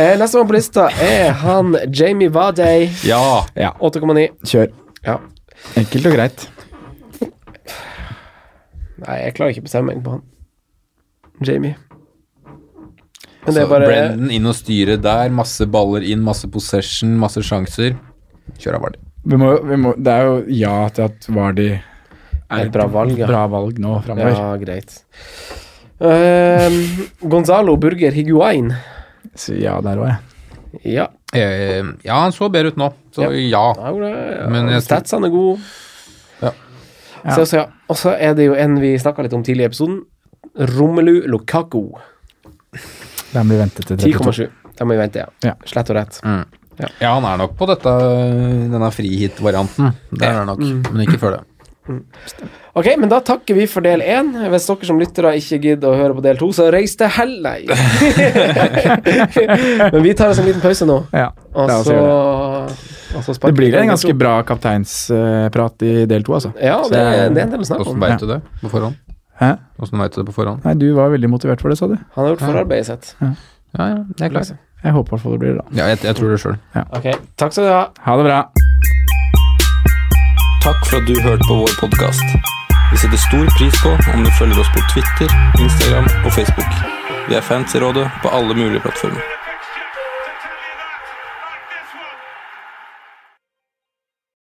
Eh, Nestemann på lista er han Jamie Vardey.
Ja!
Ja,
8,9.
kjør.
Ja.
Enkelt og greit.
Nei, jeg klarer ikke å bestemme meg på han. Jamie. Men det
Så
er bare
Brendan inn og styre der. Masse baller inn, masse possession, masse sjanser. Kjør av Vardi.
Vi må, vi må, det er jo ja til at Vardi er
et bra valg, ja.
bra valg nå framover.
Ja, greit. Eh, Gonzalo Burger Higuain.
Så ja, der òg, jeg.
Ja.
Eh, ja, han så bedre ut nå, så ja.
Ja, det-
Men jeg tror-
Statsene er gode.
Ja.
Så, så, ja. Og så er det jo en vi snakka litt om tidligere i episoden. Romelu Lukaku.
Den blir ventet til 32.
10,7. Da må vi vente, ja.
Ja.
Slett og rett.
Ja, han er nok på dette, denne frihit-varianten. Der er han nok, men ikke før det.
Ok, men da takker vi for del én. Hvis dere som lyttere ikke gidder å høre på del to, så reis til hell, nei! men vi tar oss en liten pause nå,
Ja,
og
la oss
så,
gjøre det.
og så sparker
Det blir
vi
en
del
ganske
to.
bra kapteinsprat i del to, altså.
Ja, det, er- det er en del å snakke
Åssen
om.
veit du det på forhånd?
Hæ?
Hvordan vet du det på forhånd?
Nei, du var veldig motivert for det, sa du.
Han har gjort forarbeidet sitt.
Ja, ja, det er klart.
Jeg håper i hvert fall det blir det, da.
Ja, jeg, jeg tror det sjøl.
Ok, takk skal du ha.
Ha det bra.
Takk for at du hørte på vår podkast. Vi setter stor pris på om du følger oss på Twitter, Instagram og Facebook. Vi er fans i rådet på alle mulige plattformer.